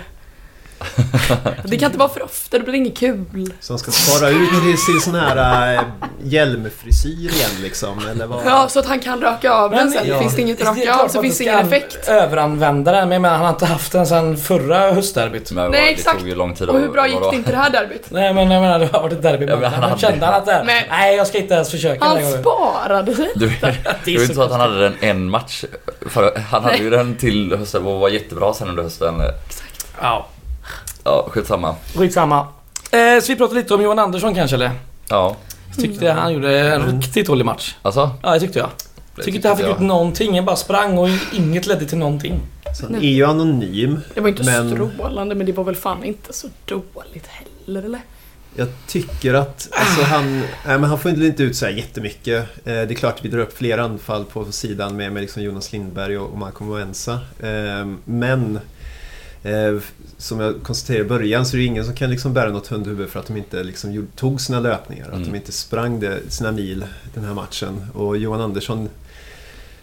Speaker 3: det kan inte vara för ofta, det blir inget kul.
Speaker 4: Så han ska spara ut till sin sån här eh, hjälmfrisyr igen liksom, eller vad?
Speaker 3: Ja, så att han kan raka av den sen.
Speaker 1: ja.
Speaker 3: Finns det inget att
Speaker 1: är
Speaker 3: raka
Speaker 1: klart
Speaker 3: av så
Speaker 1: att
Speaker 3: finns
Speaker 1: du
Speaker 3: det
Speaker 1: ska an-
Speaker 3: ingen effekt.
Speaker 1: Överanvända den, men jag menar, han har inte haft den sedan förra höstderbyt.
Speaker 2: Men
Speaker 3: Nej,
Speaker 2: det
Speaker 3: exakt.
Speaker 2: tog ju lång tid
Speaker 3: Och
Speaker 2: att-
Speaker 3: hur bra gick
Speaker 2: vadå?
Speaker 3: det inte det här derbyt?
Speaker 1: Nej men jag menar det har varit ett derby
Speaker 2: Ja, men han
Speaker 1: men
Speaker 2: hade-
Speaker 1: kände han att det här,
Speaker 3: Nej.
Speaker 1: nej jag ska inte ens försöka den
Speaker 3: Han
Speaker 1: här gången.
Speaker 3: sparade sig.
Speaker 2: Du, det är ju inte så att han hade den en match. För han hade ju den till hösten och var jättebra sen under hösten.
Speaker 1: Ja,
Speaker 2: Ja, skitsamma.
Speaker 1: skitsamma. Eh, så vi pratar lite om Johan Andersson kanske eller?
Speaker 2: Ja,
Speaker 1: Jag tyckte
Speaker 2: Mm.
Speaker 1: han gjorde en riktigt dålig match.
Speaker 2: alltså.
Speaker 1: Ja, det tyckte jag.
Speaker 2: det
Speaker 1: Tycker inte han fick
Speaker 2: jag.
Speaker 1: ut någonting. Han bara sprang och inget ledde till någonting.
Speaker 4: Så han är ju anonym.
Speaker 3: Det var inte
Speaker 4: Men-
Speaker 3: strålande men det var väl fan inte så dåligt heller eller?
Speaker 4: Jag tycker att alltså, han, nej, men han får inte ut så här jättemycket. Eh, det är klart vi drar upp flera anfall på sidan med, med liksom Jonas Lindberg och, och Malcolm Wensa. Eh, men eh, som jag konstaterade i början så är det ingen som kan liksom bära något hundhuvud för att de inte liksom gjorde, tog sina löpningar. Att
Speaker 2: Mm.
Speaker 4: de inte sprang det, sina mil den här matchen. Och Johan Andersson,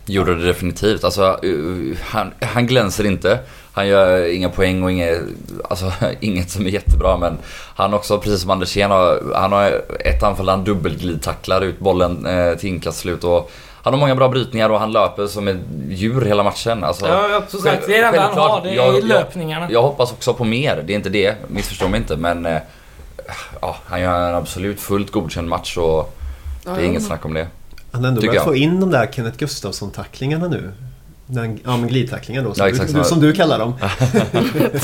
Speaker 2: Gjorde det definitivt. Alltså, eh, han, han glänser inte. Han gör inga poäng och inget, alltså, inget som är jättebra men han också, precis som Andersén, har, han har ett anfall där han dubbelglidtacklar ut bollen eh, till inkastslut och han har många bra brytningar och han löper som ett djur hela matchen. Alltså,
Speaker 1: Ja, som sagt, det är det enda han
Speaker 2: Självklart.
Speaker 1: har. Det är
Speaker 2: Jag- jag-
Speaker 1: löpningarna.
Speaker 2: Jag hoppas också på mer, det är inte det, missförstå mig inte men eh, ja, han gör en absolut fullt godkänd match och det är inget snack om det.
Speaker 4: han har ändå
Speaker 2: Tycker
Speaker 4: börjat
Speaker 2: jag.
Speaker 4: få in de där Kenneth Gustafsson-tacklingarna nu. Den, ja, men glidtacklingar då, som,
Speaker 2: Ja, exakt,
Speaker 4: du, du,
Speaker 2: så-
Speaker 4: som du kallar dem.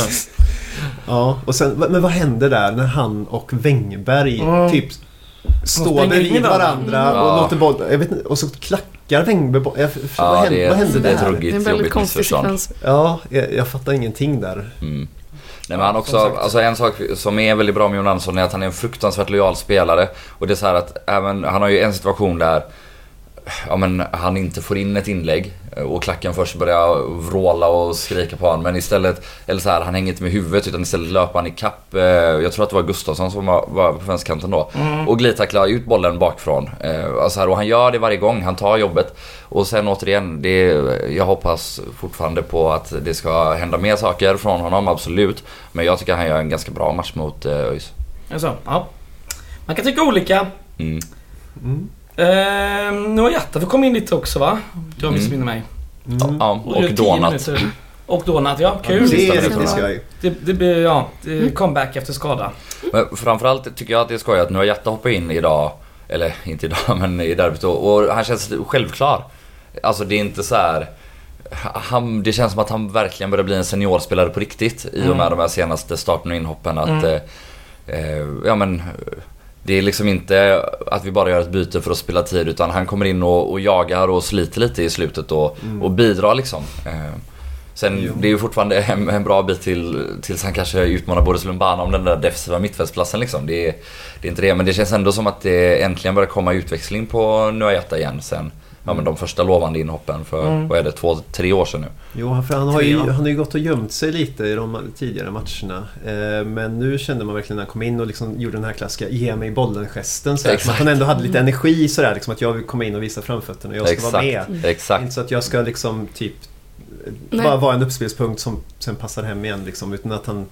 Speaker 4: ja, och sen, men vad händer där när han och Wängberg
Speaker 1: Mm.
Speaker 4: typ står
Speaker 1: springer in i
Speaker 4: bredvid varandra och
Speaker 2: Ja.
Speaker 4: låter bollen... Jag vet inte, och så klackar Wängberg bollen. Jag- för-
Speaker 2: Ja,
Speaker 4: Vad
Speaker 2: det
Speaker 4: händer,
Speaker 2: är-
Speaker 4: vad händer
Speaker 2: det är
Speaker 4: där?
Speaker 2: tråkigt.
Speaker 3: Det är en väldigt
Speaker 2: Jobbigt
Speaker 3: konstig
Speaker 2: missförstånd.
Speaker 3: sekvens.
Speaker 4: Ja, jag, jag fattar ingenting där.
Speaker 2: Mm. Nej, men han också,
Speaker 1: som sagt.
Speaker 2: alltså en sak som är väldigt bra med Jon Andersson är att han är en fruktansvärt lojal spelare. Och det är så här att även, han har ju en situation där ja, men, han inte får in ett inlägg eh, och klacken först börjar vråla och skrika på honom. Men istället, eller så här, han hänger inte med huvudet utan istället löper han i kapp. eh, Jag tror att det var Gustafsson som var, var på vänsterkanten då. Och glidtacklar ut bollen bakifrån. Eh, Alltså här, och han gör det varje gång, han tar jobbet. Och sen återigen, det, jag hoppas fortfarande på att det ska hända mer saker från honom, absolut. Men jag tycker han gör en ganska bra match mot eh, ÖIS.
Speaker 1: Alltså, ja. Man kan tycka olika.
Speaker 2: Mm.
Speaker 4: Mm.
Speaker 1: Ehm, nu har Jatta fått komma in lite också va? Du har
Speaker 2: Mm.
Speaker 1: missminner mig.
Speaker 4: Mm.
Speaker 2: Ja, och
Speaker 1: gör tio
Speaker 2: Donat.
Speaker 1: minuter. Och Donat ja,
Speaker 4: Det
Speaker 1: kul.
Speaker 4: är
Speaker 2: minuten.
Speaker 4: riktigt skoj.
Speaker 1: Det, det blir, ja, det är comeback efter skada.
Speaker 2: Men framförallt tycker jag att det är skoj att nu har Jatta hoppat in idag, eller inte idag men i derbyt och, och han känns självklar. Alltså det är inte så här. Han, det känns som att han verkligen börjar bli en seniorspelare på riktigt i och med de här senaste starten och inhoppen. Att,
Speaker 1: Mm.
Speaker 2: eh, eh, ja, men, eh, det är liksom inte att vi bara gör ett byte för att spela tid utan han kommer in och, och jagar och sliter lite i slutet och, och bidrar liksom. Eh, Sen
Speaker 4: Jo.
Speaker 2: det är ju fortfarande en, en bra bit till, tills han kanske utmanar både Lumbana om den där defensiva mittfältsplatsen liksom. Det är, det är inte det, men det känns ändå som att det äntligen börjar komma utväxling på Nuajata igen sen. Ja men de första lovande inhoppen för,
Speaker 1: Mm.
Speaker 2: vad är det, två, tre år sedan nu.
Speaker 4: Jo, han- för han har, ju,
Speaker 1: Tre, va?
Speaker 4: han har ju gått och gömt sig lite i de tidigare matcherna. Eh, Men nu kände man verkligen när han kom in och liksom gjorde den här klassiska ge mig bollen-gesten. Så här, som att
Speaker 2: Exakt.
Speaker 4: han ändå hade lite
Speaker 3: Mm.
Speaker 4: energi sådär, liksom att jag vill komma in och visa framfötterna och jag ska vara med.
Speaker 2: Exakt,
Speaker 4: Det är
Speaker 2: exakt.
Speaker 4: Inte så att jag ska liksom typ
Speaker 3: Nej.
Speaker 4: bara vara en uppspelspunkt som sen passar hem igen liksom, utan att han...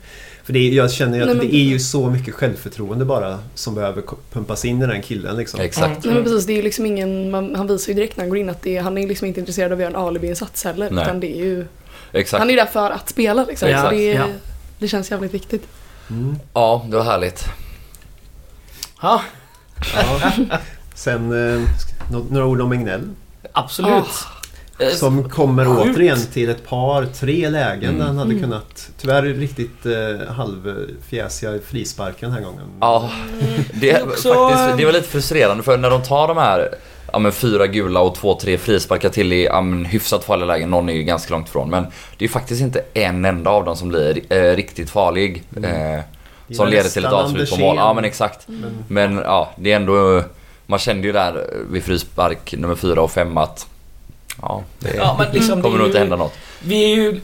Speaker 4: För det är, jag känner ju att
Speaker 3: Nej, men-
Speaker 4: det är ju så mycket självförtroende bara som behöver ko- pumpas in i den killen liksom.
Speaker 2: Exakt.
Speaker 1: Mm.
Speaker 3: Nej men precis, det är ju liksom ingen, man, han visar ju direkt när han går in att det, han är liksom inte intresserad av att göra en alibi-insats heller.
Speaker 2: Nej.
Speaker 3: Utan det är ju,
Speaker 2: Exakt.
Speaker 3: han är ju där för att spela liksom.
Speaker 1: Ja,
Speaker 3: Så det,
Speaker 1: ja.
Speaker 3: det känns jävligt viktigt.
Speaker 4: Mm.
Speaker 2: Ja, det var härligt.
Speaker 1: Ja,
Speaker 4: Ja. Sen eh, sk- nå- några ord om Egnell.
Speaker 1: absolut.
Speaker 4: Ah.
Speaker 1: Eh,
Speaker 4: Som kommer
Speaker 1: Sjukt.
Speaker 4: återigen till ett par, tre lägen
Speaker 2: Mm.
Speaker 4: där han hade
Speaker 3: Mm.
Speaker 4: kunnat... Tyvärr riktigt eh, halvfjäsiga frisparken den här gången.
Speaker 2: Ja, det,
Speaker 1: Det
Speaker 2: är
Speaker 1: är också-
Speaker 2: faktiskt, det var lite frustrerande för när de tar de här ja, men fyra gula och två, tre frisparkar till i ja, men hyfsat farliga lägen, någon är ju ganska långt ifrån. Men det är ju faktiskt inte en enda av dem som blir eh, riktigt farlig. Eh,
Speaker 4: Det är
Speaker 2: som leder till ett
Speaker 4: nästan
Speaker 2: avslut på
Speaker 4: Andersén.
Speaker 2: mål. Ja men exakt.
Speaker 4: Men-
Speaker 2: Men ja, det är ändå... Man kände ju där vid frispark nummer fyra och fem att... Ja, det
Speaker 1: Ja, men liksom,
Speaker 2: kommer
Speaker 1: det
Speaker 2: nog
Speaker 1: är
Speaker 2: inte
Speaker 1: ju-
Speaker 2: hända något.
Speaker 1: Vi är ju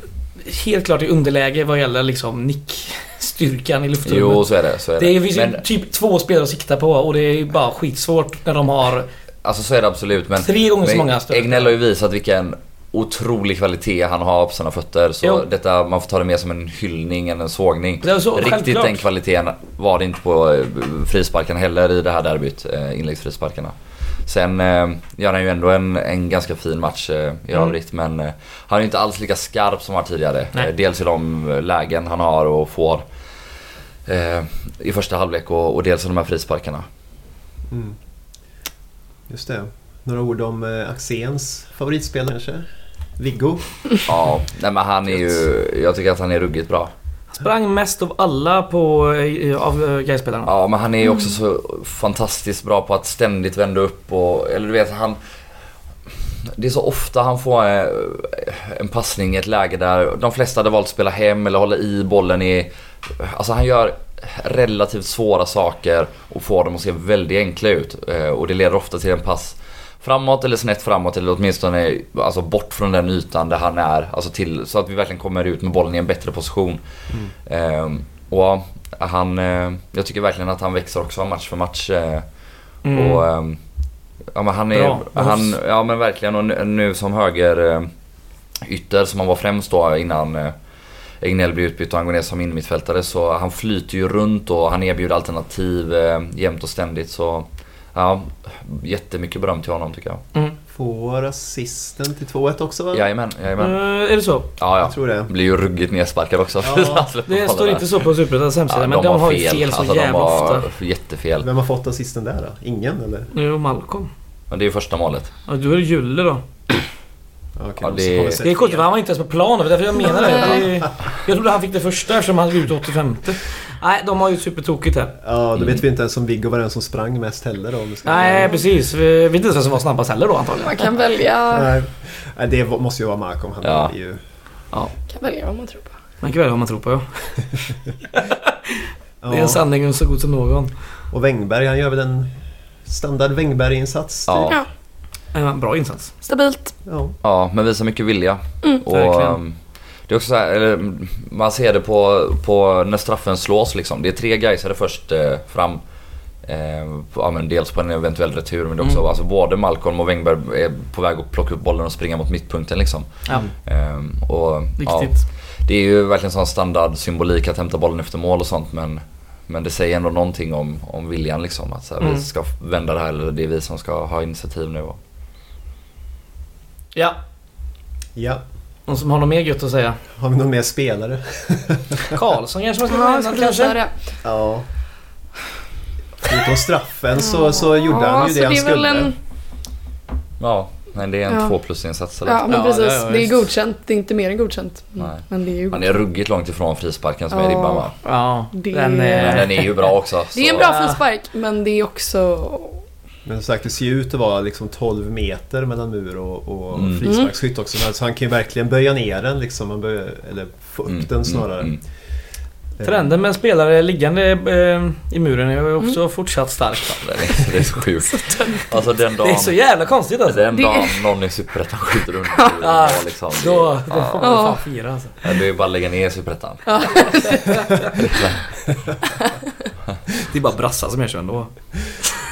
Speaker 1: helt klart i underläge vad gäller liksom nickstyrkan i luftrummet.
Speaker 2: Jo, så är det. Så är det.
Speaker 1: det finns
Speaker 2: men,
Speaker 1: ju typ två spelare att sikta på och det är bara skitsvårt när de har
Speaker 2: Alltså så är det absolut men...
Speaker 1: tre gånger så
Speaker 2: men
Speaker 1: många stöd.
Speaker 2: Egnell har ju visat vilken otrolig kvalitet han har på sina fötter. Så
Speaker 1: Jo.
Speaker 2: detta, man får ta det mer som en hyllning än en sågning.
Speaker 1: Ja, så,
Speaker 2: Riktigt
Speaker 1: självklart.
Speaker 2: den kvaliteten var det inte på eh, frisparken heller i det här derbyt. eh, Inläggsfrisparkarna. Sen eh, gör han ju ändå en, en ganska fin match eh, i
Speaker 1: Mm.
Speaker 2: övrigt men eh, han är ju inte alls lika skarp som han var tidigare.
Speaker 1: Nej.
Speaker 2: Eh, dels i de eh, lägen han har och får eh, i första halvlek och, och dels i de här frisparkarna.
Speaker 4: Mm. Just det. Några ord om eh, Axéns favoritspelare kanske? Viggo?
Speaker 2: Ja, nej men han är ju, jag tycker att han är ruggigt bra.
Speaker 1: Sprang mest av alla på, eh, av eh, Gais-spelarna.
Speaker 2: Ja, men han är ju också så fantastiskt bra på att ständigt vända upp och, eller du vet han... Det är så ofta han får eh, en passning i ett läge där de flesta hade valt att spela hem eller hålla i bollen i... Alltså han gör relativt svåra saker och får dem att se väldigt enkla ut. Eh, Och det leder ofta till en pass framåt eller snett framåt eller åtminstone alltså bort från den ytan där han är. Alltså till, så att vi verkligen kommer ut med bollen i en bättre position. Eh, Och ja, han, eh, jag tycker verkligen att han växer också match för match. eh,
Speaker 1: Mm.
Speaker 2: och, ehm, ja, men han är,
Speaker 1: Bra.
Speaker 2: han, ja men verkligen och nu, nu som höger eh, ytter som han var främst då innan eh, Egnell blir utbytt och han går ner som innermittfältare så han flyter ju runt och han erbjuder alternativ eh, jämt och ständigt så ja, jättemycket beröm till honom tycker jag.
Speaker 4: Får assisten till 2-1 också va?
Speaker 2: Jajamän, jajamän.
Speaker 1: Eh, är det så?
Speaker 2: Ja,
Speaker 4: Jag
Speaker 2: ja.
Speaker 4: tror det.
Speaker 2: Blir ju ruggigt nedsparkad också.
Speaker 4: Ja,
Speaker 2: för att han släpper
Speaker 1: Det
Speaker 2: bollen
Speaker 1: står
Speaker 2: där.
Speaker 1: inte så på Superettans hemsida,
Speaker 2: Ja,
Speaker 1: men de, har ju fel så
Speaker 2: Alltså,
Speaker 1: jävla
Speaker 2: de har
Speaker 1: ofta.
Speaker 2: Jättefel.
Speaker 4: Vem har fått assisten där då? Ingen eller?
Speaker 1: Jo, Malcolm.
Speaker 2: Men det är ju första målet.
Speaker 1: Ja, då är det Julle då.
Speaker 4: Ja, okej,
Speaker 2: Ja,
Speaker 4: de
Speaker 2: det-
Speaker 4: har väl sett
Speaker 1: Det är sjukt,
Speaker 4: fel.
Speaker 1: för han var inte ens på plan. Det var därför jag menar det.
Speaker 3: Nej.
Speaker 1: det är, jag trodde han fick det första eftersom han gick ut 85. Nej, de har ju supertokigt här.
Speaker 4: Ja, då
Speaker 2: Mm.
Speaker 4: vet vi inte ens om Viggo var den som sprang mest heller då. Om det ska
Speaker 1: Nej, precis. Vi vet inte ens vem som var snabbast heller då antagligen.
Speaker 3: Man kan välja,
Speaker 4: Nej. Nej, det var- måste ju vara Malcolm. Han
Speaker 2: Ja.
Speaker 4: är ju...
Speaker 3: kan välja vad man tror på.
Speaker 1: Man kan välja vad man tror på, ja. Det är
Speaker 4: Ja.
Speaker 1: en sanning så god som någon.
Speaker 4: Och Wängberg, han gör väl en standard Wängberg-insats? typ.
Speaker 2: Ja.
Speaker 3: Ja,
Speaker 1: Eh, Bra insats.
Speaker 3: stabilt.
Speaker 4: ja.
Speaker 2: Ja, men visar mycket vilja.
Speaker 1: Mm.
Speaker 2: Och,
Speaker 1: Verkligen.
Speaker 2: ehm, det är också så här, eller, mm, man ser det på, på när straffen slås liksom. Det är tre Gaisare först eh, fram. Eh, på- ja, men dels på en eventuell retur men det är också
Speaker 1: Mm.
Speaker 2: alltså, både Malcolm och Wängberg är på väg att plocka upp bollen och springa mot mittpunkten liksom.
Speaker 1: Ja,
Speaker 2: Ehm, och, ja,
Speaker 1: viktigt.
Speaker 2: det är ju verkligen sån standard symbolik att hämta bollen efter mål och sånt men, men det säger ändå någonting om, om viljan liksom. Att så här,
Speaker 1: Mm.
Speaker 2: vi ska vända det här eller det är vi som ska ha initiativ nu. Och,
Speaker 1: Ja,
Speaker 4: ja.
Speaker 1: någon som har något mer gött att säga?
Speaker 4: Har vi någon mer spelare?
Speaker 1: Karlsson kanske man ska
Speaker 3: Ja,
Speaker 1: nämna kanske?
Speaker 3: kanske.
Speaker 4: Ja. Utom straffen så, så gjorde han ju det han skulle.
Speaker 3: En,
Speaker 2: ja, men det är en
Speaker 3: Ja.
Speaker 2: två plus insats eller?
Speaker 3: ja, men
Speaker 1: Ja,
Speaker 3: precis.
Speaker 1: ja, ja,
Speaker 3: det är
Speaker 1: visst.
Speaker 3: godkänt. Det är inte mer än godkänt.
Speaker 2: Nej.
Speaker 3: Men det är ju
Speaker 2: Han är ruggigt långt ifrån frisparken som är
Speaker 3: Ja.
Speaker 2: ribban va?
Speaker 1: Ja,
Speaker 3: Det-
Speaker 1: den eh,
Speaker 2: Men
Speaker 1: är...
Speaker 2: den är ju bra också.
Speaker 3: Det är en
Speaker 2: så-
Speaker 3: bra frispark, men det är också...
Speaker 4: Men som sagt, det ser ju ut att vara liksom 12 meter mellan mur och, och
Speaker 2: Mm.
Speaker 4: frisparksskytt också. Men Så han kan ju verkligen böja ner den liksom. Han böjer, eller få upp
Speaker 2: Mm,
Speaker 4: den snarare.
Speaker 2: mm, mm.
Speaker 4: Eh,
Speaker 1: Trenden med en spelare liggande eh, i muren är ju också fortsatt stark.
Speaker 2: Den är, det är så sjukt. Alltså den dagen,
Speaker 1: Det är så jävla konstigt alltså.
Speaker 2: den
Speaker 3: Det-
Speaker 2: dagen någon i Superettan skjuter under muren,
Speaker 1: Ja,
Speaker 2: då liksom. det-
Speaker 1: Då, det får man
Speaker 2: ja,
Speaker 1: fan fira alltså.
Speaker 2: det är ju bara att lägga ner Superettan.
Speaker 1: Det är bara brassar som gör så ändå.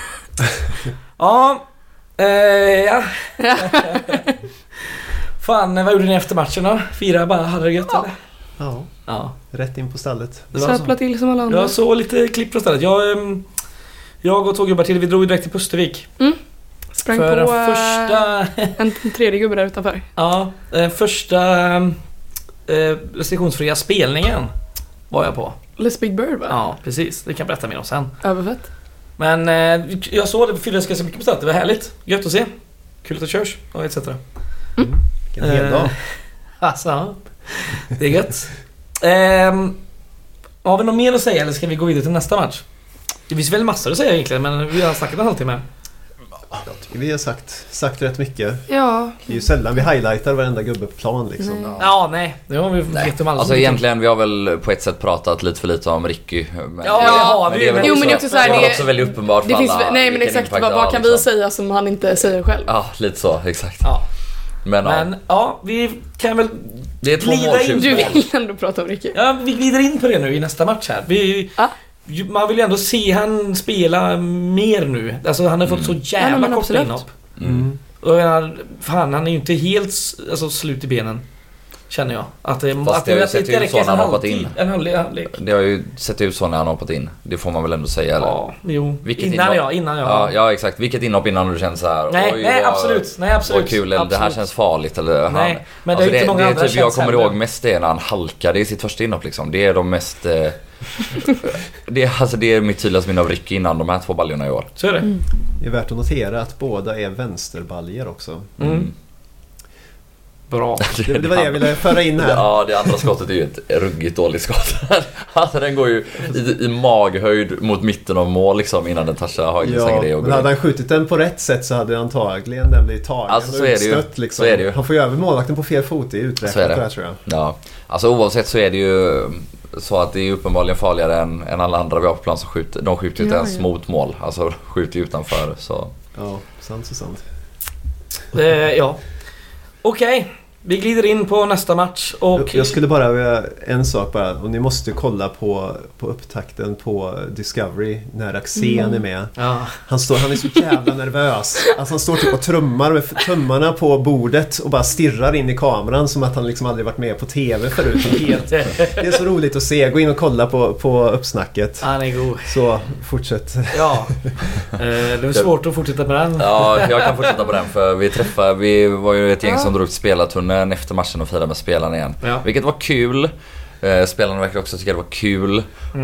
Speaker 1: ja. Eh, ja. Fan, vad gjorde ni efter matchen då? Fira bara, hade det gött eller?
Speaker 4: Ja,
Speaker 1: Ja.
Speaker 4: rätt in på stallet.
Speaker 1: Det var
Speaker 3: Söpla
Speaker 1: så.
Speaker 3: till som alla andra.
Speaker 1: Jag såg lite klipp från stället. Jag, ehm, jag och två gubbar till, vi drog ju direkt till Pustervik.
Speaker 3: Sprang
Speaker 1: för
Speaker 3: på
Speaker 1: den
Speaker 3: eh,
Speaker 1: första...
Speaker 3: en tredje gubbe där utanför.
Speaker 1: Ja, den första eh, restriktionsfria spelningen var jag på.
Speaker 3: Les Big Bird va?
Speaker 1: Ja, precis. Det kan jag berätta mer om sen.
Speaker 3: Överfett.
Speaker 1: Men eh, jag såg det, fylldes ganska mycket på stället. Det var härligt. Gött att se. Kul att det körs och etc.
Speaker 4: Vilken hel
Speaker 1: Eh,
Speaker 4: dag.
Speaker 1: Alltså, ja. det är gött. Ehm, har vi något mer att säga eller ska vi gå vidare till nästa match? Det finns väl massor att säga egentligen men vi har snackat en halvtimme.
Speaker 4: Jag tycker vi har sagt, sagt rätt mycket.
Speaker 3: Ja,
Speaker 4: Det är ju sällan vi highlightar varenda gubbe på plan liksom.
Speaker 3: Nej.
Speaker 1: Ja, nej. Det har vi
Speaker 2: Nej.
Speaker 1: gett om alla.
Speaker 2: Alltså egentligen, vi har väl på ett sätt pratat lite för lite om Ricky. Men
Speaker 1: Ja, det har vi ju, men-
Speaker 2: väl
Speaker 1: Jo, men
Speaker 3: det är också så här,
Speaker 2: det är
Speaker 3: det-
Speaker 2: väl också väldigt uppenbart
Speaker 3: det
Speaker 2: för
Speaker 3: finns,
Speaker 2: alla
Speaker 3: nej men
Speaker 2: vilken
Speaker 3: exakt
Speaker 2: impact
Speaker 3: vad,
Speaker 2: det
Speaker 3: vad
Speaker 2: har,
Speaker 3: kan vi
Speaker 2: liksom.
Speaker 3: säga som han inte säger själv?
Speaker 2: Ja, lite så. Exakt.
Speaker 1: Ja.
Speaker 2: Men,
Speaker 1: Men
Speaker 2: ja,
Speaker 1: ja, vi kan väl...
Speaker 2: det är två
Speaker 1: glida in.
Speaker 2: måltjuvsmål.
Speaker 3: Du vill ändå prata om Ricky?
Speaker 1: Ja, vi glider in på det nu i nästa match här. Vi,
Speaker 3: Ja.
Speaker 1: ju- Man vill ju ändå se han spela mer nu. Alltså han har fått så
Speaker 3: Ja,
Speaker 1: jävla
Speaker 3: men
Speaker 1: korta
Speaker 3: absolut.
Speaker 1: inhopp.
Speaker 2: Mm.
Speaker 1: Och jag menar, fan han är ju inte helt s- alltså, slut i benen. Känner jag. Att det,
Speaker 2: Fast
Speaker 1: att
Speaker 2: det har ju
Speaker 1: att
Speaker 2: sett ut så
Speaker 1: räcker
Speaker 2: när han
Speaker 1: en
Speaker 2: hoppat
Speaker 1: halvtid-
Speaker 2: in.
Speaker 1: En halvlek. halvlek.
Speaker 2: Det har ju sett ut så när han har hoppat in. Det får man väl ändå säga. Eller?
Speaker 1: Ja, jo.
Speaker 2: Vilket
Speaker 1: innan
Speaker 2: inhopp-
Speaker 1: jag, innan jag.
Speaker 2: Ja, ja exakt. Vilket inhopp innan du känner så här.
Speaker 1: nej,
Speaker 2: oj,
Speaker 1: nej,
Speaker 2: vad,
Speaker 1: absolut. Nej, absolut.
Speaker 2: Vad kul, eller det här
Speaker 1: Absolut.
Speaker 2: känns farligt. Eller, han,
Speaker 1: Nej, men det är
Speaker 2: Alltså
Speaker 1: ju inte många
Speaker 2: det är
Speaker 1: andra
Speaker 2: typ, Jag
Speaker 1: känns
Speaker 2: kommer
Speaker 1: heller.
Speaker 2: ihåg mest det när han halkade i sitt första inhopp liksom. Det är de mest... Eh, det, är- alltså, det är mitt tydligaste minne av Ricky innan de här två baljorna i år.
Speaker 1: Så är det.
Speaker 2: Mm.
Speaker 4: Det är värt att notera att båda är vänsterbaljer också.
Speaker 1: Mm. Bra.
Speaker 4: Det, det var det jag ville föra in här.
Speaker 2: Ja, det andra skottet är ju ett ruggigt dåligt skott. Alltså den går ju i, i maghöjd mot mitten av mål liksom innan den touchar högersängre
Speaker 4: Ja,
Speaker 2: och
Speaker 4: men
Speaker 2: går in.
Speaker 4: hade han skjutit den på rätt sätt så hade antagligen den blivit tagen
Speaker 2: Alltså, så
Speaker 4: och
Speaker 2: är det ju.
Speaker 4: utstött. Liksom.
Speaker 2: Så är det ju.
Speaker 4: Han får ju över målvakten på fel fot, det är
Speaker 2: Så är
Speaker 4: uträknat
Speaker 2: det.
Speaker 4: det här tror jag.
Speaker 2: Ja, alltså oavsett så är det ju sa att det är uppenbarligen farligare än, än alla andra vi har på plan som skjuter. De skjuter ju inte
Speaker 3: Ja,
Speaker 2: ens
Speaker 3: ja.
Speaker 2: mot mål, alltså skjuter ju utanför. Så.
Speaker 4: Ja, sant så sant.
Speaker 1: Eh, ja. Okej, vi glider in på nästa match och...
Speaker 4: Jag skulle bara vilja, en sak bara. Och ni måste kolla på, på upptakten på Discovery när Axén är med.
Speaker 1: Ja.
Speaker 4: Han, står, han är så jävla nervös. Alltså han står typ och trummar med tummarna på bordet och bara stirrar in i kameran som att han liksom aldrig varit med på TV förut. Helt- Det är så roligt att se. Gå in och kolla på, på uppsnacket.
Speaker 1: Han är god.
Speaker 4: Så fortsätt.
Speaker 1: Ja. Eh, det är svårt att fortsätta med den.
Speaker 2: Ja, jag kan fortsätta på den för vi träffade, vi var ju ett gäng som drog till spelartunneln efter matchen och firade med spelarna igen.
Speaker 1: Ja.
Speaker 2: Vilket var kul. Eh, Spelarna verkade också tycka det var kul.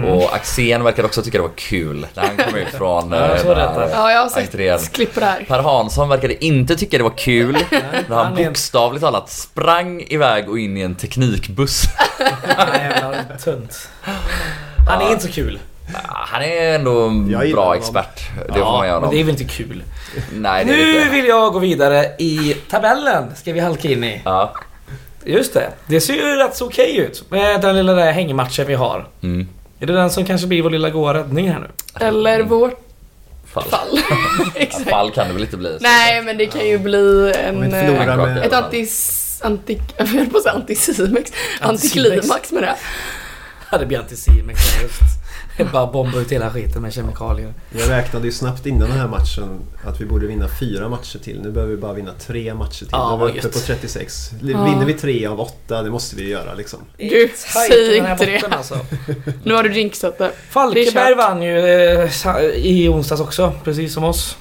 Speaker 2: Och Axén verkade också tycka det var kul när han kom ut från
Speaker 1: Ja, jag
Speaker 2: eh,
Speaker 1: såg
Speaker 2: den här
Speaker 1: detta.
Speaker 3: Ja, jag har
Speaker 2: entrén.
Speaker 3: sett klipp på det här.
Speaker 2: Per Hansson verkade inte tycka det var kul när han
Speaker 1: han är en-
Speaker 2: bokstavligt talat sprang iväg och in i en teknikbuss.
Speaker 1: Han är jävla tunt. Han är inte så kul.
Speaker 2: Han är ändå en
Speaker 4: Jag gillar
Speaker 2: bra
Speaker 4: honom.
Speaker 2: expert. Det får man göra
Speaker 1: men det är
Speaker 2: honom.
Speaker 1: väl inte kul.
Speaker 2: Nej, det är
Speaker 1: Nu
Speaker 2: inte.
Speaker 1: vill jag gå vidare i tabellen. Ska vi halka in i.
Speaker 2: Ja.
Speaker 1: Just det. Det ser ju rätt så okej ut med den lilla där hängmatchen vi har.
Speaker 2: Mm.
Speaker 1: Är det den som kanske blir vår lilla goa räddning här nu?
Speaker 3: Eller vårt
Speaker 2: Fall.
Speaker 3: fall. Exakt.
Speaker 2: Mm. Fall kan det väl inte bli. så.
Speaker 3: Nej, men det kan ju bli
Speaker 4: Om
Speaker 3: en...
Speaker 4: inte
Speaker 3: eh,
Speaker 4: förlorar
Speaker 2: Handkaka.
Speaker 4: med...
Speaker 3: Ett antis... Anti, jag höll på att säga antisimex. Antiklimax med det.
Speaker 1: Ja, det blir antisimex. Det är bara bomba ut hela skiten med kemikalier.
Speaker 4: Jag räknade ju snabbt innan den här matchen att vi borde vinna fyra matcher till. Nu behöver vi bara vinna tre matcher till.
Speaker 1: Ja,
Speaker 4: Då är vi
Speaker 1: vad
Speaker 4: uppe
Speaker 1: gött.
Speaker 4: på 36.
Speaker 3: Ja.
Speaker 4: Vinner vi tre av åtta, det måste vi göra liksom.
Speaker 3: Du,
Speaker 1: Tajt
Speaker 3: säg
Speaker 1: i den här
Speaker 3: inte det.
Speaker 1: botten, Alltså.
Speaker 3: Nu har du jinxat det. Det är
Speaker 1: Falkenberg
Speaker 3: kört.
Speaker 1: vann ju eh, sa- i onsdags också, precis som oss.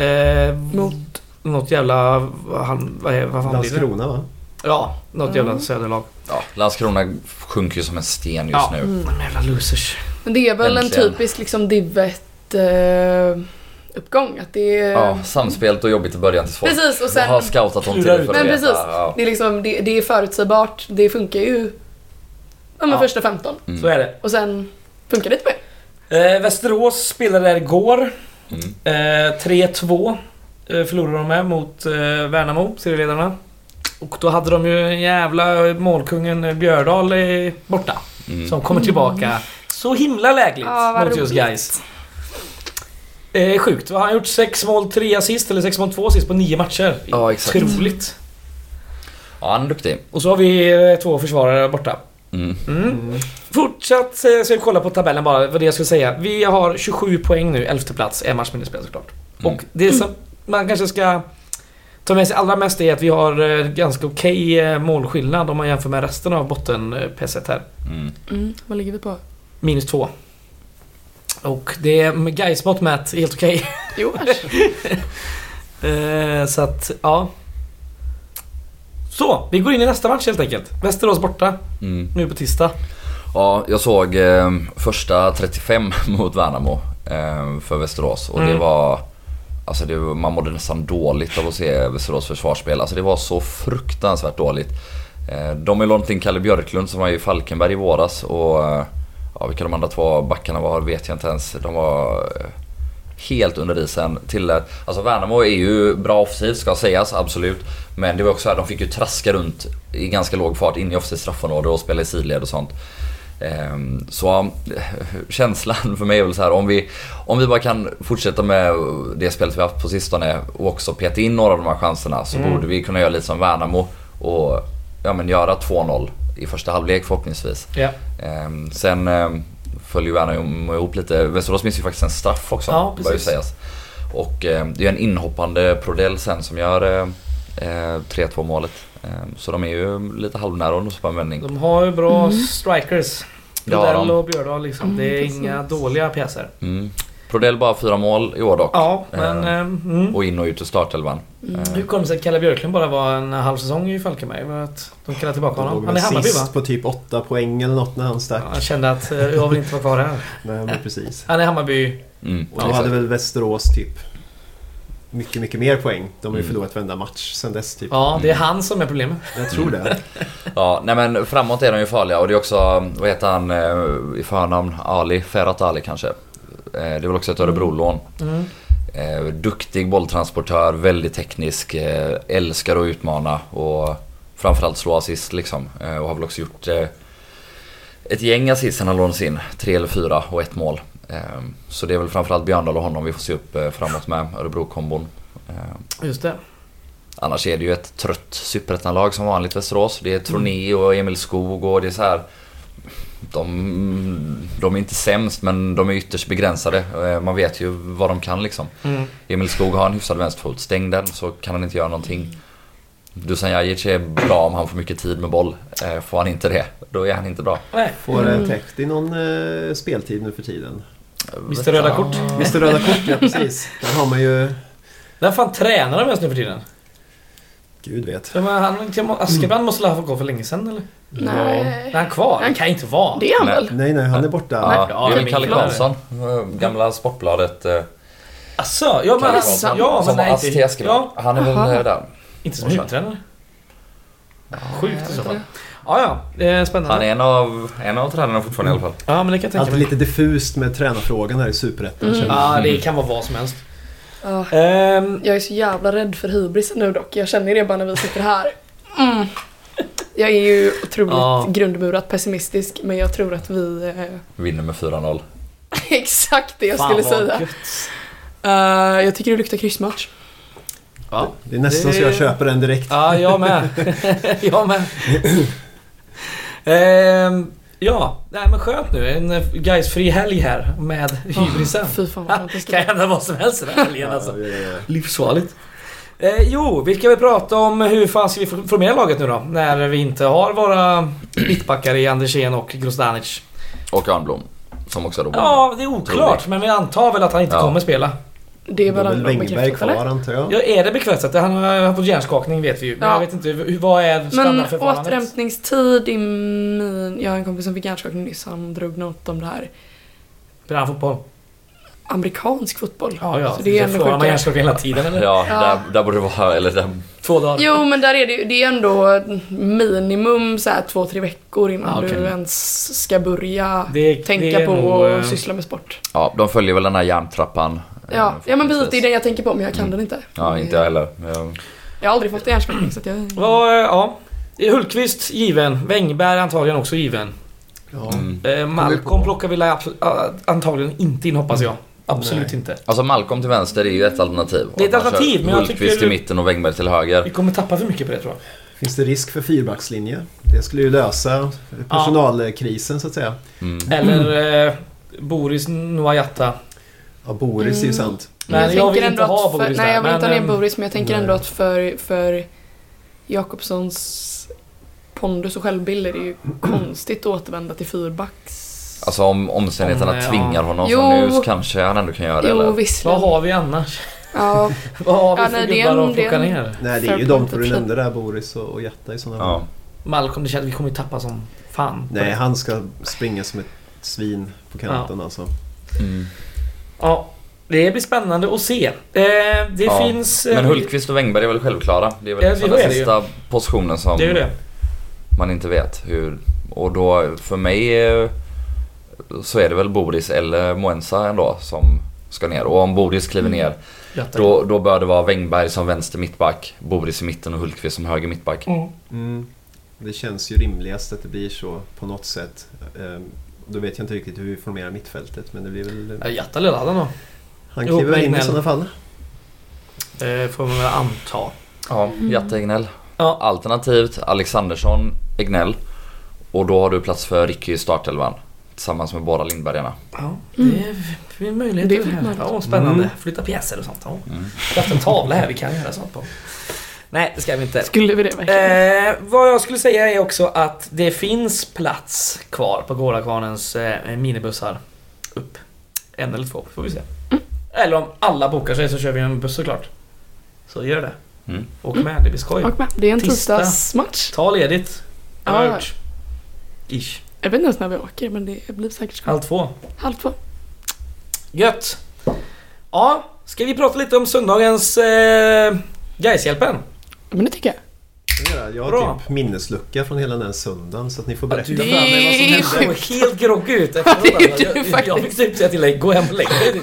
Speaker 1: Eh,
Speaker 3: Mot?
Speaker 1: Något jävla... Han, vad, är- vad fan blir det?
Speaker 4: Landskrona va?
Speaker 1: Ja, något
Speaker 3: Mm.
Speaker 1: jävla söderlag.
Speaker 2: Ja, Landskrona sjunker ju som en sten just
Speaker 1: Ja.
Speaker 2: nu.
Speaker 3: Mm.
Speaker 1: De jävla losers.
Speaker 3: Men det är väl
Speaker 2: Äntligen.
Speaker 3: en typisk liksom divet eh, uppgång. Att det är...
Speaker 2: Ja, samspelt och jobbigt i början tills folk
Speaker 3: Precis, och sen...
Speaker 2: har scoutat dem till
Speaker 1: Klurar
Speaker 2: det för
Speaker 1: ut.
Speaker 2: att
Speaker 3: Men
Speaker 2: veta.
Speaker 3: precis.
Speaker 2: Ja.
Speaker 3: Det är, liksom, det, det är förutsägbart. Det funkar ju... Ja, men
Speaker 1: Ja.
Speaker 3: första 15.
Speaker 2: Mm.
Speaker 1: Så är det.
Speaker 3: Och sen funkar det inte mer.
Speaker 1: Eh, Västerås spelade där igår.
Speaker 2: Mm.
Speaker 1: Eh, 3-2 eh, förlorade de med mot eh, Värnamo, serieledarna. Och då hade de ju en jävla målkungen Björdal eh, borta.
Speaker 2: Mm.
Speaker 1: Som kommer tillbaka så himla lägligt
Speaker 3: Ja, vad
Speaker 1: mot just
Speaker 3: roligt.
Speaker 1: guys. Eh, sjukt. Vad Har han gjort 6 mål, 3 assist eller 6 mål, 2 assist på 9 matcher?
Speaker 2: Ja, exakt.
Speaker 1: Otroligt.
Speaker 2: Ja, han är duktig.
Speaker 1: Och så har vi eh, två försvarare där borta.
Speaker 2: Mm.
Speaker 1: Mm. Fortsatt eh, ska vi kolla på tabellen bara, vad det jag skulle säga. Vi har 27 poäng nu, 11 plats, en match mindre spelad såklart.
Speaker 2: Mm.
Speaker 1: Och det som man kanske ska ta med sig allra mest är att vi har eh, ganska okej eh, målskillnad om man jämför med resten av eh, botten-PS1 här.
Speaker 2: Mm.
Speaker 3: Mm, vad ligger vi på?
Speaker 1: Minus två. Och det är med Gais mått mätt helt okej.
Speaker 3: Jo, äsch.
Speaker 1: Eh, Så att, ja. Så, vi går in i nästa match helt enkelt. Västerås borta
Speaker 2: Mm.
Speaker 1: nu på tisdag.
Speaker 2: Ja, jag såg eh, första 35 mot Värnamo eh, för Västerås och det
Speaker 1: Mm.
Speaker 2: var... Alltså det, var- man mådde nästan dåligt av att se Västerås försvarsspel. Alltså det var så fruktansvärt dåligt. Eh, de har ju lånat in Kalle Björklund som var i Falkenberg i våras och... Eh, ja, vilka de andra två backarna var vet jag inte ens. De var... Eh, Helt under isen. Till, alltså Värnamo är ju bra offensivt ska sägas, absolut. Men det var också så här, de fick ju traska runt i ganska låg fart in i offensivt straffområde och spela i sidled och sånt. Ehm, Så eh, känslan för mig är väl så här om vi, om vi bara kan fortsätta med det spelet vi haft på sistone och också peta in några av de här chanserna så borde vi kunna göra lite som Värnamo och ja, men göra 2-0 i första halvlek förhoppningsvis.
Speaker 1: Ja.
Speaker 2: Ehm, Sen ehm, föll ju Värnamo ihop lite. Västerås missade ju faktiskt en straff också.
Speaker 1: Ja,
Speaker 2: bör ju
Speaker 1: precis.
Speaker 2: sägas. Och ehm, det är ju en inhoppande Prodell sen som gör ehm, eh, 3-2 målet. Ehm, Så de är ju lite halvnära och nosar på en vändning.
Speaker 1: De har ju bra strikers.
Speaker 2: Det har
Speaker 1: Rodell
Speaker 2: de.
Speaker 1: och Björdal liksom.
Speaker 3: Mm,
Speaker 1: det är
Speaker 3: precis.
Speaker 1: inga dåliga pjäser.
Speaker 2: Mm. Prodell bara fyra mål i år dock.
Speaker 1: Ja, men...
Speaker 2: Eh,
Speaker 1: Eh, mm.
Speaker 2: Och in och ut ur startelvan.
Speaker 3: Mm.
Speaker 1: Hur kom det sig att Kalle Björklund bara var en halv säsong i Falkenberg? Var Att de kallade tillbaka
Speaker 4: De
Speaker 1: honom.
Speaker 4: låg
Speaker 1: Han är
Speaker 4: väl
Speaker 1: i Hammarby va?
Speaker 4: sist på typ åtta poäng eller något när han stack.
Speaker 1: Ja, Jag kände att eh, jag vill inte vara kvar här.
Speaker 4: Nej men precis.
Speaker 1: Han är i Hammarby.
Speaker 2: Mm.
Speaker 4: Och då hade väl Västerås typ mycket, mycket mer poäng. De har ju
Speaker 2: Mm.
Speaker 4: förlorat varenda match sen dess typ.
Speaker 1: Ja, Mm. det är han som är problemet.
Speaker 4: Jag tror det.
Speaker 2: Ja, nej men framåt är de ju farliga och det är också, vad heter han eh, i förnamn? Ali? Ferhat Ali kanske? Eh, Det är väl också ett Örebrolån.
Speaker 1: Mm.
Speaker 2: Eh, Duktig bolltransportör, väldigt teknisk, eh, älskar att utmana och framförallt slå assist liksom. Eh, Och har väl också gjort eh, ett gäng assist sen han lånades in. Tre eller fyra och ett mål. Eh, Så det är väl framförallt Björndal och honom vi får se upp eh, framåt med, Örebro-kombon. Eh,
Speaker 1: Just det.
Speaker 2: Annars är det ju ett trött superettanlag som vanligt Västerås. Det är Troné och Emil Skog och det är så här. De, de är inte sämst men de är ytterst begränsade. Eh, Man vet ju vad de kan liksom.
Speaker 1: Mm.
Speaker 2: Emil Skog har en hyfsad vänsterfot. Stäng den så kan han inte göra någonting. Dusan Jajic är bra om han får mycket tid med boll. Eh, Får han inte det, då är han inte bra.
Speaker 1: Nej.
Speaker 4: Får en täckt i någon eh, speltid nu för tiden?
Speaker 1: Visst är röda kort?
Speaker 4: Visst är röda kort, ja precis. Där har man ju...
Speaker 1: Vem fan tränar de ens nu för tiden?
Speaker 4: Gud vet.
Speaker 1: De här- Han, Askebrand måste väl ha fått gå för länge sedan eller?
Speaker 3: Nej.
Speaker 1: Är han kvar? Det kan inte vara.
Speaker 3: Det är han
Speaker 2: Nej.
Speaker 3: väl?
Speaker 4: Nej, nej, han är borta.
Speaker 2: Ja, det är väl
Speaker 1: Ja,
Speaker 2: Kalle
Speaker 1: Kalle
Speaker 2: Karlsson. eh, Gamla Sportbladet. eh,
Speaker 1: Asså? Ja men
Speaker 2: Kalle
Speaker 1: alltså,
Speaker 2: Karlsson.
Speaker 1: ja, men
Speaker 2: Som var
Speaker 1: nej.
Speaker 2: ass till
Speaker 1: Inte,
Speaker 2: Askebrand.
Speaker 1: ja,
Speaker 2: Han är väl
Speaker 3: Aha.
Speaker 2: eh, där.
Speaker 1: inte som huvudtränare. Sjukt i så fall. Ja, ja. eh, Spännande.
Speaker 2: Han är en av, en av tränarna fortfarande i alla fall.
Speaker 1: Ja men det kan jag tänka
Speaker 4: Alltid
Speaker 1: mig.
Speaker 4: lite diffust med tränarfrågan här i Superettan. känner jag.
Speaker 1: Ja, det kan vara vad som helst.
Speaker 3: Ja.
Speaker 1: Ehm,
Speaker 3: Jag är så jävla rädd för hybrisen nu dock. Jag känner det bara när vi sitter här. Mm. Jag är ju otroligt
Speaker 1: Ja.
Speaker 3: grundmurat pessimistisk men jag tror att vi... Eh,
Speaker 2: Vinner med 4-0.
Speaker 3: exakt det jag
Speaker 1: fan
Speaker 3: skulle
Speaker 1: vad
Speaker 3: säga.
Speaker 1: gött.
Speaker 3: Eh, jag tycker det luktar kryssmatch.
Speaker 1: Ja,
Speaker 4: Det är nästan så jag köper den direkt.
Speaker 1: ja jag med. jag med. Ehm, ja, nej men skönt nu. En eh, guys-fri helg här med hybrisen.
Speaker 3: Fy fan vad
Speaker 1: Ha,
Speaker 3: skönt det ska
Speaker 1: kan
Speaker 3: bli.
Speaker 1: hända vad som helst den här helgen alltså.
Speaker 4: Ja, ja, ja.
Speaker 1: Livsfarligt. Eh, jo, vi ska väl prata om hur fan ska vi for- formera laget nu då? När vi inte har våra mittbackar i Andersén och Grosdanic.
Speaker 2: Och Örnblom. Som också är då
Speaker 1: Ja, det är oklart, men vi antar väl att han inte
Speaker 2: Ja.
Speaker 1: kommer spela.
Speaker 3: Det är
Speaker 4: Då är
Speaker 3: väl
Speaker 4: väl
Speaker 3: andra
Speaker 4: Wängberg
Speaker 3: bekräftat eller?
Speaker 4: kvar antar jag.
Speaker 1: Ja, är det bekvämsat? Han har han har fått hjärnskakning vet vi ju. Men
Speaker 3: Ja.
Speaker 1: jag vet inte, hur- vad är
Speaker 3: Men
Speaker 1: standardförfarandet?
Speaker 3: återhämtningstid i min... Jag har en kompis som fick hjärnskakning nyss. Han drog något om det här.
Speaker 1: Spelar han fotboll?
Speaker 3: Amerikansk fotboll.
Speaker 1: Ja, ja.
Speaker 3: Så det är
Speaker 1: Så
Speaker 3: ändå
Speaker 1: Får han
Speaker 3: sjukare.
Speaker 1: hjärnskakning hela tiden eller?
Speaker 2: Ja,
Speaker 3: Ja.
Speaker 2: Där, där borde det vara... Eller där,
Speaker 1: Två dagar?
Speaker 3: Jo men där är det ju det är ändå minimum så här två, tre veckor innan
Speaker 1: Ja, okej.
Speaker 3: du ens ska börja
Speaker 1: Det,
Speaker 3: tänka
Speaker 1: det är
Speaker 3: på
Speaker 1: nog, eh,
Speaker 3: och syssla med sport.
Speaker 2: ja, de följer väl den här järntrappan. eh,
Speaker 3: Ja, ja men precis, det är
Speaker 2: förhoppningsvis.
Speaker 3: den jag tänker på men jag kan
Speaker 2: Mm.
Speaker 3: den inte.
Speaker 2: Ja, inte jag heller. Jag-
Speaker 3: Jag har aldrig fått en hjärnskakning så att jag...
Speaker 1: Ja, eh, ja. Hultqvist given. Wängberg antagligen också given.
Speaker 4: Ja.
Speaker 2: Mm.
Speaker 1: Eh,
Speaker 4: på.
Speaker 1: Malcolm plockar vi la- absolut- ah, antagligen inte in hoppas jag. Absolut
Speaker 4: Nej.
Speaker 1: inte.
Speaker 2: Alltså Malcolm till vänster är ju ett alternativ.
Speaker 1: Det är ett
Speaker 2: Och man kör
Speaker 1: alternativ, men jag tycker- Mm.
Speaker 2: Hultqvist till mitten och Wängberg till
Speaker 1: Vi
Speaker 2: höger.
Speaker 1: kommer tappa för mycket på det tror jag.
Speaker 4: Finns det risk för fyrbackslinje? Det skulle ju lösa personalkrisen så att säga.
Speaker 2: Mm.
Speaker 1: Eller eh, Boris Noajata.
Speaker 4: Ja, Boris är
Speaker 3: Mm.
Speaker 4: ju sant.
Speaker 1: Men jag,
Speaker 3: tänker
Speaker 1: vill inte
Speaker 3: ändå att
Speaker 1: ha
Speaker 3: för,
Speaker 1: Boris
Speaker 3: Nej
Speaker 1: där.
Speaker 3: jag vill inte ha
Speaker 1: men,
Speaker 3: ner
Speaker 1: ehm,
Speaker 3: Boris men jag tänker
Speaker 4: nej.
Speaker 3: ändå att för, för Jakobssons pondus och självbild är det ju konstigt att återvända till fyrbacks.
Speaker 2: Alltså om omständigheterna
Speaker 1: Om, eh,
Speaker 2: tvingar
Speaker 1: ja.
Speaker 2: honom
Speaker 3: Jo.
Speaker 2: som nu så kanske han ändå kan göra det.
Speaker 3: jo
Speaker 2: Eller?
Speaker 1: eh, Vad
Speaker 3: visserligen.
Speaker 1: har vi annars?
Speaker 3: Ja,
Speaker 1: Vad har vi
Speaker 3: Ja,
Speaker 1: för
Speaker 3: nej, det är
Speaker 1: gubbar
Speaker 3: en-
Speaker 1: att plocka
Speaker 3: det är en-
Speaker 1: ner?
Speaker 4: Nej, det är ju
Speaker 3: Fair
Speaker 4: de
Speaker 3: point,
Speaker 4: två du
Speaker 3: absolut.
Speaker 4: nämnde där, Boris och, och Jatta i sådana fall.
Speaker 2: Ja.
Speaker 1: Malcolm, det känns vi kommer ju tappa som fan. på
Speaker 4: Nej,
Speaker 1: det.
Speaker 4: han ska springa som ett svin på kanten alltså.
Speaker 2: Mm.
Speaker 1: Ja, det blir spännande att se. Eh, det
Speaker 2: Ja,
Speaker 1: finns... eh,
Speaker 2: Men Hultqvist och Wängberg är väl självklara? Det är väl
Speaker 1: Ja,
Speaker 2: liksom
Speaker 1: det är
Speaker 2: den
Speaker 1: det ju.
Speaker 2: sista positionen som
Speaker 1: Det är ju det.
Speaker 2: man inte vet hur... Och då för mig eh, så är det väl Boris eller Moensa ändå som ska ner. Och om Boris kliver
Speaker 1: Mm.
Speaker 2: ner
Speaker 1: Jatta.
Speaker 2: då, då bör det vara Wängberg som vänster mittback, Boris i mitten och Hultqvist som höger mittback.
Speaker 1: Mm.
Speaker 4: Mm. Det känns ju rimligast att det blir så på något sätt. Ehm, Då vet jag inte riktigt hur vi formerar mittfältet men det blir
Speaker 1: Ja,
Speaker 4: väl...
Speaker 1: Jatta eller Ladan då?
Speaker 4: Han
Speaker 1: Jo,
Speaker 4: kliver väl in i
Speaker 1: Magnell.
Speaker 4: sådana fall.
Speaker 1: Eh, får man väl anta.
Speaker 2: Ja, Jatta Egnell.
Speaker 1: Ja.
Speaker 2: Alternativt Alexandersson, Egnell. Och då har du plats för Ricky i startelvan. Tillsammans med båda Lindbergarna.
Speaker 1: Ja, det är en möjlighet.
Speaker 3: Mm. Det är
Speaker 1: Det här.
Speaker 3: möjligt.
Speaker 1: Ja, spännande.
Speaker 4: Mm.
Speaker 1: Flytta pjäser och sånt. Ja.
Speaker 2: Mm.
Speaker 1: Vi har haft en tavla här vi kan göra sånt på. Nej, det ska vi inte.
Speaker 3: skulle vi det verkligen?
Speaker 1: Eh, vad jag skulle säga är också att det finns plats kvar på Gårdakvarnens eh, minibussar. Upp. En eller två, får vi se. Eller om alla bokar sig så kör vi en buss såklart. Så gör det.
Speaker 2: Mm.
Speaker 1: Åk med, det blir skoj.
Speaker 3: Och med. Det är en
Speaker 1: Tisdag.
Speaker 3: tisdagsmatch.
Speaker 1: Ta ledigt. Det har
Speaker 3: Ja.
Speaker 1: jag gjort. Ish.
Speaker 3: Jag vet inte ens när vi åker men det blir säkert skönt.
Speaker 1: Halv två.
Speaker 3: Halv två.
Speaker 1: Gött! Ja, ska vi prata lite om söndagens eh, Gaishjälpen?
Speaker 3: Men det tycker jag.
Speaker 4: Ja, Jag har
Speaker 1: Bra.
Speaker 4: typ minneslucka från hela den här söndagen så att ni får
Speaker 1: Du
Speaker 4: berätta
Speaker 1: för
Speaker 4: för
Speaker 1: mig vad som
Speaker 3: Det är
Speaker 1: hände.
Speaker 3: sjukt.
Speaker 1: Du såg helt groggy ut
Speaker 3: Ja, det gjorde
Speaker 1: efteråt.
Speaker 3: du
Speaker 1: Jag, jag, jag
Speaker 3: faktiskt.
Speaker 1: fick typ säga till dig, gå hem och lägg dig.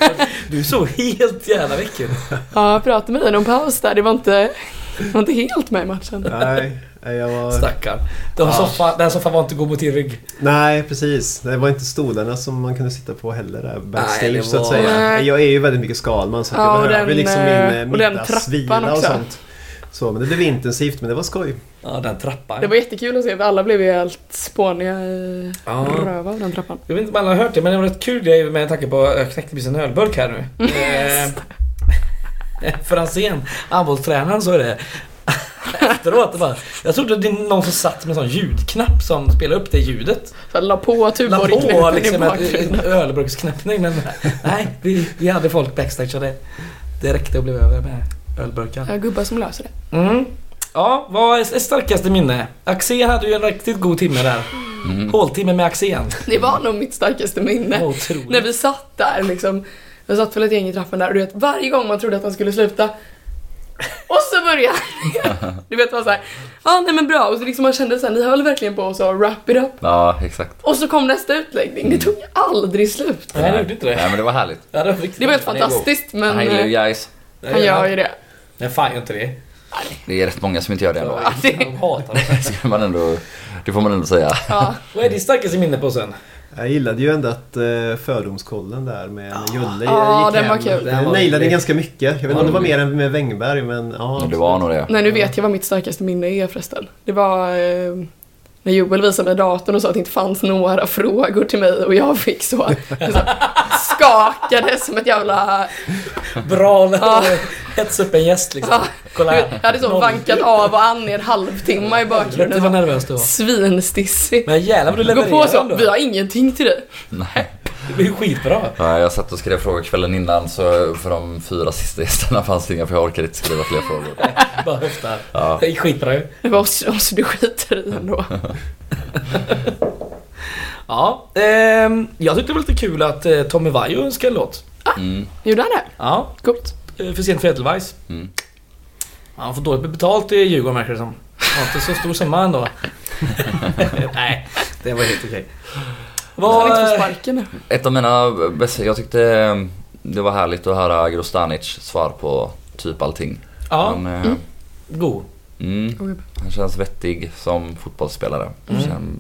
Speaker 1: Du såg helt jävla väck ut.
Speaker 3: Ja, prata med dig om paus där. Det var inte, det var inte helt med i matchen.
Speaker 4: Nej, Nej, jag var...
Speaker 1: Stackarn. Den,
Speaker 4: Ja.
Speaker 1: soffan, den soffan var inte god mot din rygg.
Speaker 4: Nej, precis. Det var inte stolarna som man kunde sitta på heller där backstage
Speaker 1: det
Speaker 4: så att
Speaker 1: var-
Speaker 4: säga.
Speaker 3: Nej.
Speaker 4: Jag är ju väldigt mycket skalman så att
Speaker 3: Ja,
Speaker 4: jag
Speaker 3: och
Speaker 4: behöver
Speaker 3: den,
Speaker 4: liksom
Speaker 3: eh,
Speaker 4: min
Speaker 3: och den trappan
Speaker 4: middagsvila och
Speaker 3: också.
Speaker 4: sånt. Så, men det blev intensivt, men det var skoj.
Speaker 1: Ja, den trappan.
Speaker 3: Det var jättekul att se, för alla blev ju helt spåniga i
Speaker 1: ja.
Speaker 3: röva av den trappan.
Speaker 1: Jag vet inte om alla har hört det, men det var rätt kul grej med tanke på jag knäckte precis en ölburk här nu.
Speaker 3: Mm.
Speaker 1: Eh, Franzén, handbollstränaren, så är det. Efteråt, det bara, jag trodde det var någon som satt med en sån ljudknapp som spelade upp det ljudet.
Speaker 3: Så jag la på
Speaker 1: La på
Speaker 3: tuborgknuten i
Speaker 1: liksom en,
Speaker 3: bakgrunden.
Speaker 1: en ölburksknäppning, men nej, vi, vi hade folk backstage så det, det räckte och blev över med ölburkar.
Speaker 3: Ja, gubbar som löser det.
Speaker 1: Mm. Ja, vad är starkaste minne? Axén hade ju en riktigt god timme där.
Speaker 2: Mm.
Speaker 1: Håltimme med Axén.
Speaker 3: Det var nog mitt starkaste minne.
Speaker 1: Otroligt.
Speaker 3: När vi satt där liksom. Vi satt väl ett gäng i trappen där och du vet varje gång man trodde att han skulle sluta och så började han. Du vet, det var såhär, ja ah, nej men bra och så liksom man kände såhär, ni höll verkligen på och sa wrap it up
Speaker 2: Ja, exakt.
Speaker 3: och så kom nästa utläggning, det tog aldrig slut.
Speaker 1: Nej, det gjorde inte det.
Speaker 2: Nej, men det var härligt.
Speaker 1: Ja, det, var riktigt
Speaker 3: Det var helt
Speaker 1: bra.
Speaker 3: fantastiskt men
Speaker 2: Han gillar ju
Speaker 3: eh,
Speaker 2: guys.
Speaker 1: Det är
Speaker 3: han
Speaker 1: god.
Speaker 3: gör ju det.
Speaker 1: Nej, fan gör inte det.
Speaker 2: Det är rätt många som inte gör det ändå.
Speaker 1: Ja,
Speaker 3: det-
Speaker 1: De hatar det.
Speaker 2: Det Ska man ändå, det får man ändå säga.
Speaker 3: Ja.
Speaker 1: Vad är ditt starkaste minne på sen?
Speaker 4: Jag gillade ju ändå att eh, fördomskollen där med Jölle
Speaker 3: Ah. Ja,
Speaker 4: gick
Speaker 3: den var
Speaker 4: hem.
Speaker 3: kul.
Speaker 1: Den
Speaker 4: Den
Speaker 1: var
Speaker 4: nailade
Speaker 1: rolig.
Speaker 4: ganska mycket. Jag vet inte om det var mer än med Wängberg, men ja.
Speaker 2: Men Det var nog det.
Speaker 3: Nej nu vet jag vad mitt starkaste minne är förresten. Det var eh, när Joel visade mig datorn och sa att det inte fanns några frågor till mig och jag fick så, så skakade som ett jävla
Speaker 1: Bra när
Speaker 3: Ja.
Speaker 1: du hetsar upp en gäst liksom.
Speaker 3: Ja.
Speaker 1: Kolla
Speaker 3: Du vet,
Speaker 1: här.
Speaker 3: Jag hade så
Speaker 1: Noll.
Speaker 3: vankat av och an i en halvtimme i
Speaker 1: Helvete vad
Speaker 3: bakgrunden.
Speaker 1: nervös du var.
Speaker 3: Svinstissig.
Speaker 1: Men jävlar vad du
Speaker 3: Gå
Speaker 1: levererade
Speaker 3: på så,
Speaker 1: ändå.
Speaker 3: vi har ingenting till dig.
Speaker 2: Nej.
Speaker 1: Det blir ju skitbra.
Speaker 2: Ja, jag satt och skrev frågor kvällen innan så för de fyra sista gästerna fanns det inga för jag orkade inte skriva fler frågor.
Speaker 1: Bara höftar.
Speaker 2: Ja.
Speaker 1: Det gick skitbra ju.
Speaker 3: Det var oss, oss du skiter i ändå.
Speaker 1: Ja. ehm, jag tyckte det var lite kul att eh, Tommy Vaiho önskade en låt.
Speaker 2: Mm.
Speaker 3: Gjorde han det?
Speaker 1: Ja.
Speaker 3: Coolt.
Speaker 1: eh, För sent för Edelweiss.
Speaker 2: Mm.
Speaker 1: Han får dåligt betalt i Djurgården verkar det som. Det var inte så stor summa ändå. Nej, det var helt okej.
Speaker 3: Så han
Speaker 1: Vad...
Speaker 3: inte får sparken nu.
Speaker 2: Ett av mina bästa, jag tyckte eh, det var härligt att höra Grostanic svar på typ allting.
Speaker 1: Ja,
Speaker 2: Han, eh,
Speaker 3: Mm.
Speaker 1: god.
Speaker 2: mm, han känns vettig som fotbollsspelare.
Speaker 1: Mm.
Speaker 2: Känn-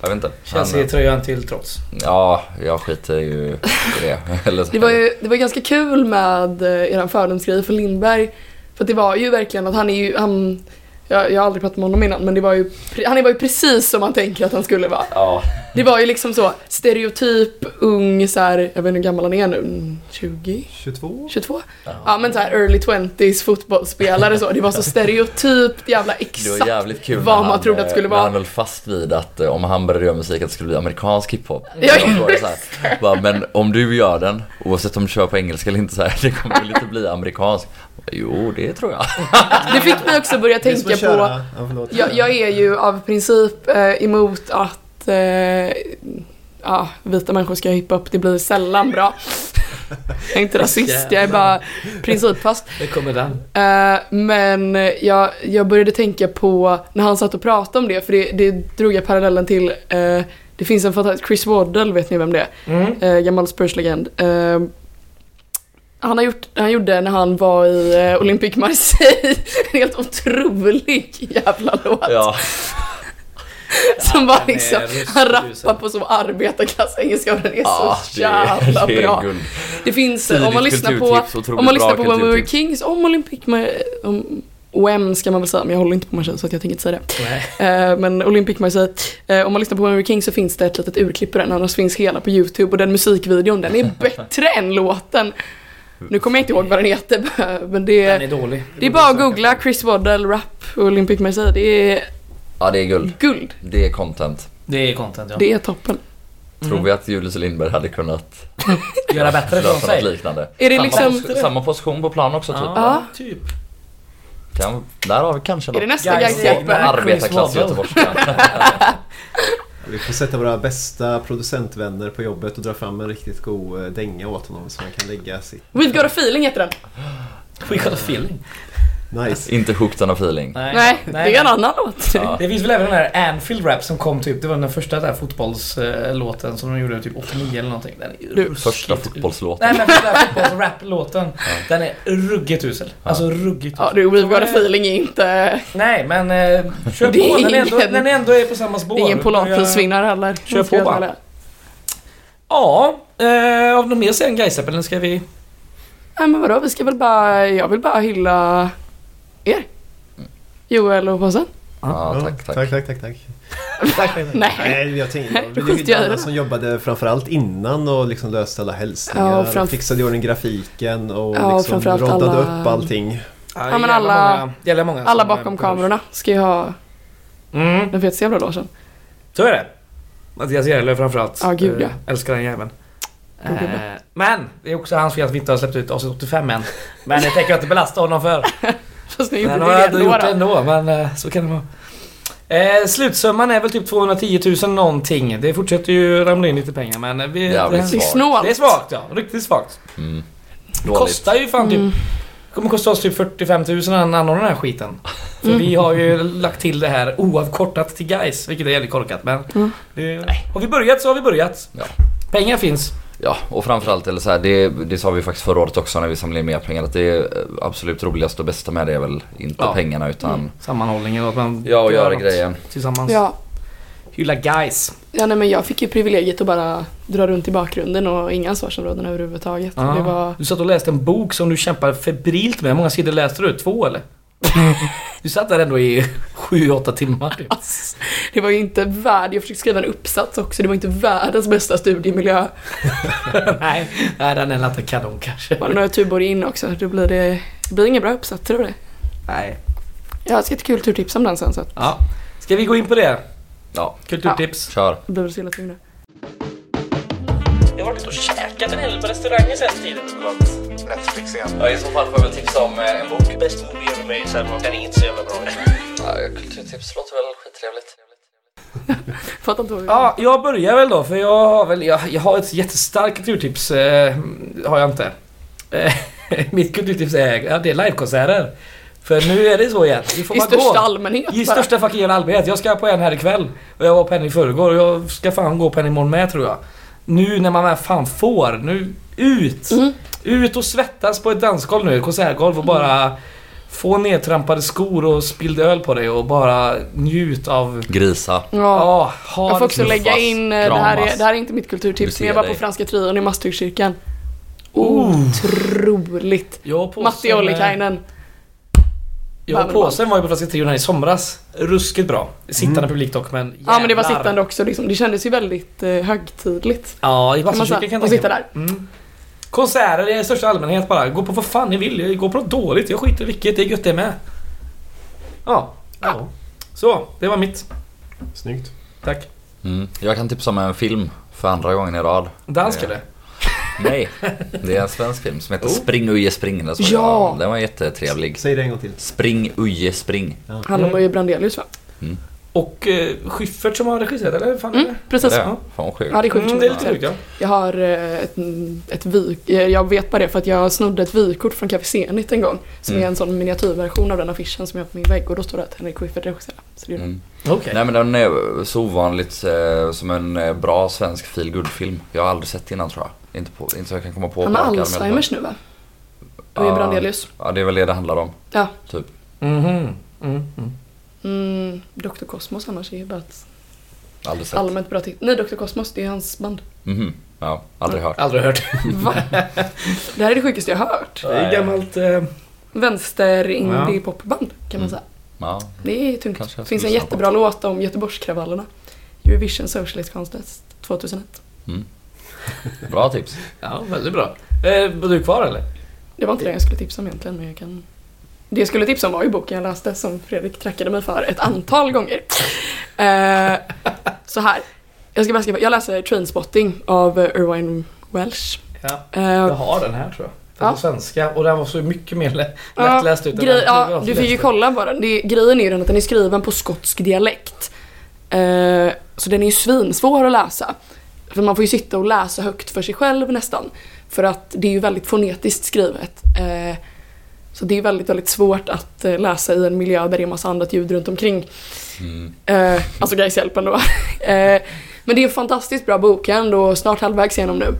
Speaker 2: jag vet inte.
Speaker 1: Känns i
Speaker 2: han,
Speaker 1: tröjan till trots.
Speaker 2: ja, jag skiter ju i det. Eller så-
Speaker 3: Det var ju det var ganska kul med eh, eran fördomsgrej för Lindberg. För att det var ju verkligen att han är ju, han, jag, jag har aldrig pratat med honom innan men det var ju, pre- han var ju precis som man tänker att han skulle vara.
Speaker 2: Ja,
Speaker 3: Det var ju liksom så stereotyp ung så här, jag vet inte hur gammal han är nu, 20?
Speaker 4: 22?
Speaker 3: 22? Ja men såhär early 20s fotbollsspelare så. Det var så stereotypt jävla
Speaker 2: det
Speaker 3: exakt
Speaker 2: var jävligt kul
Speaker 3: vad
Speaker 2: när
Speaker 3: man
Speaker 2: han,
Speaker 3: trodde att det skulle
Speaker 2: eh, när Han
Speaker 3: vara.
Speaker 2: höll fast vid att eh, om han började göra musik att det skulle bli amerikansk hiphop.
Speaker 3: Ja,
Speaker 2: Jag tror det så här, bara, men om du gör den, oavsett om du kör på engelska eller inte, så här, det kommer väl inte bli amerikansk? Jo, det tror jag.
Speaker 3: Det fick mig också börja
Speaker 4: Det är som
Speaker 3: tänka på,
Speaker 4: att köra- Ja, förlåt.
Speaker 3: jag, jag är ju av princip eh, emot att eh, ja, vita människor ska hippa upp, det blir sällan bra. Jag är inte rasist, jag är bara principfast.
Speaker 1: Det kommer den.
Speaker 3: Eh, men jag, jag började tänka på när han satt och pratade om det, för det, det drog jag parallellen till eh, det finns en fantastisk, Chris Waddle vet ni vem det är?
Speaker 1: Mm.
Speaker 3: eh, gammal Spurs-legend. Eh, han, har gjort, han gjorde när han var i eh, Olympique Marseille, en helt otrolig jävla låt.
Speaker 2: Ja.
Speaker 3: som var
Speaker 1: den är
Speaker 3: liksom,
Speaker 1: ruskigt
Speaker 3: han
Speaker 1: usel.
Speaker 3: rappar på så arbetarklassengelska och den är
Speaker 2: Ja,
Speaker 3: så jävla
Speaker 2: det är
Speaker 3: bra.
Speaker 2: guld.
Speaker 3: Det finns, eh,
Speaker 2: Tidigt
Speaker 3: om man lyssnar på,
Speaker 2: kulturtips, otroligt
Speaker 3: om man
Speaker 2: bra
Speaker 3: lyssnar på When We Were
Speaker 2: kulturtips.
Speaker 3: Kings, om Olympique Marseille, om OM ska man väl säga, men jag håller inte på Marseille så att jag tänker inte säga det.
Speaker 1: Nej.
Speaker 3: Eh, men Olympic Marseille, eh, om man lyssnar på Henry King så finns det ett litet urklipp på den, annars finns hela på YouTube och den musikvideon den är bättre än låten. Nu kommer jag inte ihåg vad den heter men det
Speaker 1: Den
Speaker 3: är,
Speaker 1: är dålig.
Speaker 3: det är bara att googla Chris Waddell rap och Olympic Marseille, det är
Speaker 2: Ja, det är guld.
Speaker 3: guld.
Speaker 2: Det är content.
Speaker 1: Det är content ja.
Speaker 3: Det är toppen. Mhm.
Speaker 2: Tror vi att Julius Lindberg hade kunnat
Speaker 1: Göra bättre
Speaker 2: lösa
Speaker 1: från
Speaker 2: något
Speaker 1: sig.
Speaker 2: liknande?
Speaker 3: Är det
Speaker 2: samma,
Speaker 3: liksom,
Speaker 2: pos- samma position på plan också typ.
Speaker 1: Ja, typ.
Speaker 2: Kan, där har vi kanske
Speaker 3: är det
Speaker 2: något.
Speaker 3: nästa Gais
Speaker 1: Guys,
Speaker 3: Jakberg?
Speaker 2: Arbetarklass
Speaker 1: Chris
Speaker 2: göteborgska.
Speaker 4: Vi får sätta våra bästa producentvänner på jobbet och dra fram en riktigt god eh, dänga åt honom så han kan lägga sitt
Speaker 3: We've got a feeling heter den.
Speaker 1: We got a feeling.
Speaker 4: Nice.
Speaker 2: Inte hooked on a feeling.
Speaker 3: Nej, typ. det är en annan låt.
Speaker 2: Ja.
Speaker 1: Det finns väl även den här Anfield Rap som kom typ, det var den första där fotbollslåten som de gjorde typ 89 eller någonting. Den är ju ruskigt
Speaker 2: Första
Speaker 1: usel.
Speaker 2: fotbollslåten.
Speaker 1: Nej men första fotbollsrap-låten. Den är ruggigt usel.
Speaker 2: Ja.
Speaker 1: Alltså ruggigt usel.
Speaker 3: Ja, du, We've Got A Feeling är inte...
Speaker 1: Nej men eh, kör
Speaker 3: Det är
Speaker 1: på, den är, ändå,
Speaker 3: ingen-
Speaker 1: den är ändå är på samma spår.
Speaker 3: Det är ingen
Speaker 1: Jag-
Speaker 3: polarprisvinnare heller.
Speaker 1: Kör på bara. Ja, eh, har vi något mer att säga om Gaisep eller ska vi...
Speaker 3: Nej men vadå, vi ska väl bara... Jag vill bara hylla er. Joel och påsen.
Speaker 2: Ja, tack,
Speaker 4: tack,
Speaker 2: tack.
Speaker 4: tack, tack, tack.
Speaker 3: Nej.
Speaker 4: Nej, jag tänkte...
Speaker 3: Nej, då
Speaker 4: Jag vill
Speaker 3: skiter jag i
Speaker 4: hylla alla
Speaker 3: det.
Speaker 4: som jobbade framförallt innan och liksom löste alla hälsningar.
Speaker 3: Ja, och framf-
Speaker 4: och fixade i ordning grafiken och
Speaker 3: Ja,
Speaker 4: liksom
Speaker 3: framförallt
Speaker 4: roddade
Speaker 3: alla-
Speaker 4: upp allting.
Speaker 3: Ja, men alla-
Speaker 1: många, jävla många
Speaker 3: Alla
Speaker 1: som-
Speaker 3: bakom kamerorna ska ju ha
Speaker 1: Mm,
Speaker 3: den fetaste jävla logen.
Speaker 1: så är det. Mattias Järlö framförallt.
Speaker 3: Ja, gud, ja.
Speaker 1: Eh, Älskar den jäveln.
Speaker 3: Ja, gud, ja.
Speaker 1: Eh, Men det är också hans fel att vi inte har släppt ut avsnitt 85 än. Men det tänker jag inte belasta honom för.
Speaker 3: Fast ni gjorde
Speaker 1: Men
Speaker 3: det
Speaker 1: de har ändå
Speaker 3: redan
Speaker 1: gjort det
Speaker 3: då.
Speaker 1: ändå, men eh, så kan det vara. Eh, slutsumman är väl typ 210 000 någonting. Det fortsätter ju ramla in lite pengar men vi,
Speaker 2: Jävligt
Speaker 3: Det
Speaker 1: det,
Speaker 3: är snålt.
Speaker 1: det är svagt ja, riktigt svagt.
Speaker 2: Mm.
Speaker 1: Det
Speaker 2: Dåligt.
Speaker 1: kostar ju fan typ,
Speaker 3: Mm.
Speaker 1: det kommer kosta oss typ 45 000 att anordna den här skiten. För vi har ju lagt till det här oavkortat till guys, vilket är jävligt korkat men.
Speaker 3: Mm.
Speaker 1: Det, har vi börjat så har vi börjat.
Speaker 2: Ja.
Speaker 1: Pengar finns.
Speaker 2: Ja, och framförallt, eller så här, det, det sa vi faktiskt förra året också när vi samlade in mer pengar, att det eh, absolut roligaste och bästa med det är väl inte
Speaker 1: Ja.
Speaker 2: pengarna utan
Speaker 3: Mm.
Speaker 1: Sammanhållningen och att man
Speaker 2: ja, och göra
Speaker 1: något
Speaker 2: grejer.
Speaker 1: tillsammans.
Speaker 3: Ja.
Speaker 1: Hylla guys.
Speaker 3: Ja, nej, men jag fick ju privilegiet att bara dra runt i bakgrunden och inga ansvarsområden överhuvudtaget.
Speaker 1: Ja.
Speaker 3: Det var...
Speaker 1: Du satt och läste en bok som du kämpade febrilt med. Hur många sidor läste du? Två eller? du satt där ändå i 7-8 timmar typ.
Speaker 3: Ass, Alltså, det var ju inte värd, jag försökte skriva en uppsats också, det var inte världens bästa studiemiljö.
Speaker 1: nej, nej, den är inte kanon kanske.
Speaker 3: Var det några turbor in också, då blir det, det blir inga bra uppsatser av det.
Speaker 1: Nej.
Speaker 3: Jag har ett jättekul turtips om den sen så att
Speaker 1: Ja. Ska vi gå in på det?
Speaker 2: Ja,
Speaker 1: Kulturtips.
Speaker 2: kör.
Speaker 3: det blir väl så illa tvungna.
Speaker 1: Jag har varit och käkat en hel på restaurangen sen tidigare.
Speaker 5: Netflix igen.
Speaker 2: Ja, I så fall får jag väl tipsa om eh, en bok.
Speaker 1: Bäst movie ever made, så den är inte så jävla bra.
Speaker 2: kulturtips låter väl skittrevligt.
Speaker 3: Fattar inte vad vi
Speaker 1: Ja, jag börjar väl då för jag har väl, jag, jag har ett jättestarkt kulturtips, eh, har jag inte. Eh, Mitt kulturtips är, ja, det är livekonserter. För nu är det så igen. Vi får
Speaker 3: I
Speaker 1: bara
Speaker 3: största
Speaker 1: gå.
Speaker 3: allmänhet
Speaker 1: I
Speaker 3: bara.
Speaker 1: största fucking jävla allmänhet. Jag ska på en här ikväll. Och jag var på en i förrgår och jag ska fan gå på en imorgon med tror jag. Nu när man väl fan får. Nu ut!
Speaker 3: Mm.
Speaker 1: Ut och svettas på ett dansgolv nu, ett konsertgolv och bara få nedtrampade skor och spilld öl på dig och bara njut av...
Speaker 2: Grisa.
Speaker 3: Ja.
Speaker 1: Ja, ha liksom-
Speaker 3: Jag får
Speaker 1: det
Speaker 3: också
Speaker 1: kul.
Speaker 3: lägga in, eh, det här, är, det här är inte mitt kulturtips,
Speaker 2: Du
Speaker 3: men jag
Speaker 2: ser
Speaker 3: var på
Speaker 2: dig.
Speaker 3: Franska Trion i Masthugkyrkan.
Speaker 1: Oh.
Speaker 3: Otroligt!
Speaker 1: Jag och påsen,
Speaker 3: Matti Ollikainen.
Speaker 1: Jag och påsen var ju på Franska Trion här i somras. Ruskigt bra. Sittande publik dock men jävlar.
Speaker 3: Ja men det var sittande också liksom. Det kändes ju väldigt eh, högtidligt.
Speaker 1: Ja, i
Speaker 3: Kan man säga,
Speaker 1: Vasakyrkan kan
Speaker 3: och
Speaker 1: jag tänka
Speaker 3: sitta
Speaker 1: mig.
Speaker 3: där.
Speaker 1: Mm. Konserter i största allmänhet bara. Gå på vad fan ni vill. Gå på något dåligt. Jag skiter i vilket. Det är gött det med. Ja.
Speaker 4: Ja.
Speaker 1: Så, det var mitt.
Speaker 4: Snyggt.
Speaker 1: Tack.
Speaker 2: Mm. Jag kan tipsa om en film för andra gången i rad.
Speaker 1: Dansk
Speaker 2: Det-
Speaker 1: eller?
Speaker 2: Nej, det är en svensk film som heter
Speaker 1: Oh.
Speaker 2: Spring Uje Spring. Den, såg
Speaker 3: Ja.
Speaker 2: jag. den var jättetrevlig.
Speaker 4: Säg det en gång till.
Speaker 2: Spring Uje Spring.
Speaker 3: Han och Börje Brandelius va?
Speaker 1: Och eh, Schyffert som har regisserat eller? Hur fan är
Speaker 3: Mm,
Speaker 1: det?
Speaker 3: precis.
Speaker 2: Det är,
Speaker 1: ja.
Speaker 2: fan vad sjukt.
Speaker 3: Ja, det är sjukt.
Speaker 1: Mm, det är lite sjukt ja.
Speaker 3: Jag har eh, ett, ett vy- eh, jag vet bara det för att jag snodde ett vykort från Café Zenit en gång. Som
Speaker 2: Mm.
Speaker 3: är en sån miniatyrversion av den affischen som jag har på min vägg och då står det att Henrik Schyffert regisserar. Så det är
Speaker 2: Mm.
Speaker 1: Okej.
Speaker 2: Nej men den är så ovanligt eh, som en eh, bra svensk feel good film Jag har aldrig sett innan tror jag. Inte, på, inte så jag kan komma på.
Speaker 3: Han
Speaker 2: på
Speaker 3: har
Speaker 2: rak arm i alla fall.
Speaker 3: Alzheimers nu va? Börje
Speaker 2: Ja.
Speaker 3: Brandelius.
Speaker 2: Ja det är väl det det handlar om.
Speaker 3: Ja.
Speaker 2: Typ.
Speaker 1: Mhm. Mm, mm.
Speaker 3: Mm, Dr. Cosmos annars är ju bara ett
Speaker 2: Aldrig sett.
Speaker 3: allmänt bra titel. Nej, Dr. Cosmos, det är hans band.
Speaker 2: Mhm. Ja, aldrig hört.
Speaker 1: Aldrig hört.
Speaker 3: Va? det här är det sjukaste jag har hört.
Speaker 1: Det är gammalt... Eh,
Speaker 3: Vänster indie
Speaker 1: Ja.
Speaker 3: popband kan
Speaker 2: Mm.
Speaker 3: man säga.
Speaker 2: Ja.
Speaker 3: Det är tungt.
Speaker 2: Kanske
Speaker 3: Det
Speaker 2: jag
Speaker 3: finns
Speaker 2: ska
Speaker 3: en
Speaker 2: lyssna på.
Speaker 3: jättebra låt om Göteborgskravallerna. Eurovision Socialist Contest 2001.
Speaker 2: Bra tips.
Speaker 1: ja, väldigt bra. Eh, var du kvar eller?
Speaker 3: Det var inte det jag skulle tipsa om egentligen, men jag kan... Det jag skulle tipsa om var ju boken jag läste som Fredrik trackade mig för ett antal gånger. Eh, så här. Jag ska bara skriva. Jag läser Trainspotting av eh, Irvine Welsh.
Speaker 1: Ja.
Speaker 3: Eh,
Speaker 1: Jag har den här tror jag. Den
Speaker 3: Ja.
Speaker 1: på svenska och den var så mycket mer lä-
Speaker 3: Ja,
Speaker 1: lättläst ut än
Speaker 3: grej,
Speaker 1: Typ den jag
Speaker 3: ja, du
Speaker 1: läste.
Speaker 3: fick ju kolla bara. Det, grejen är ju den att den är skriven på skotsk dialekt. Eh, så den är ju svinsvår att läsa. För man får ju sitta och läsa högt för sig själv nästan. För att det är ju väldigt fonetiskt skrivet. Eh, Så det är väldigt, väldigt svårt att eh, läsa i en miljö där det är massa annat ljud runt omkring.
Speaker 2: Mm.
Speaker 3: Eh, alltså Gaishjälpen då. eh, men det är en fantastiskt bra bok. Jag är ändå snart halvvägs igenom nu.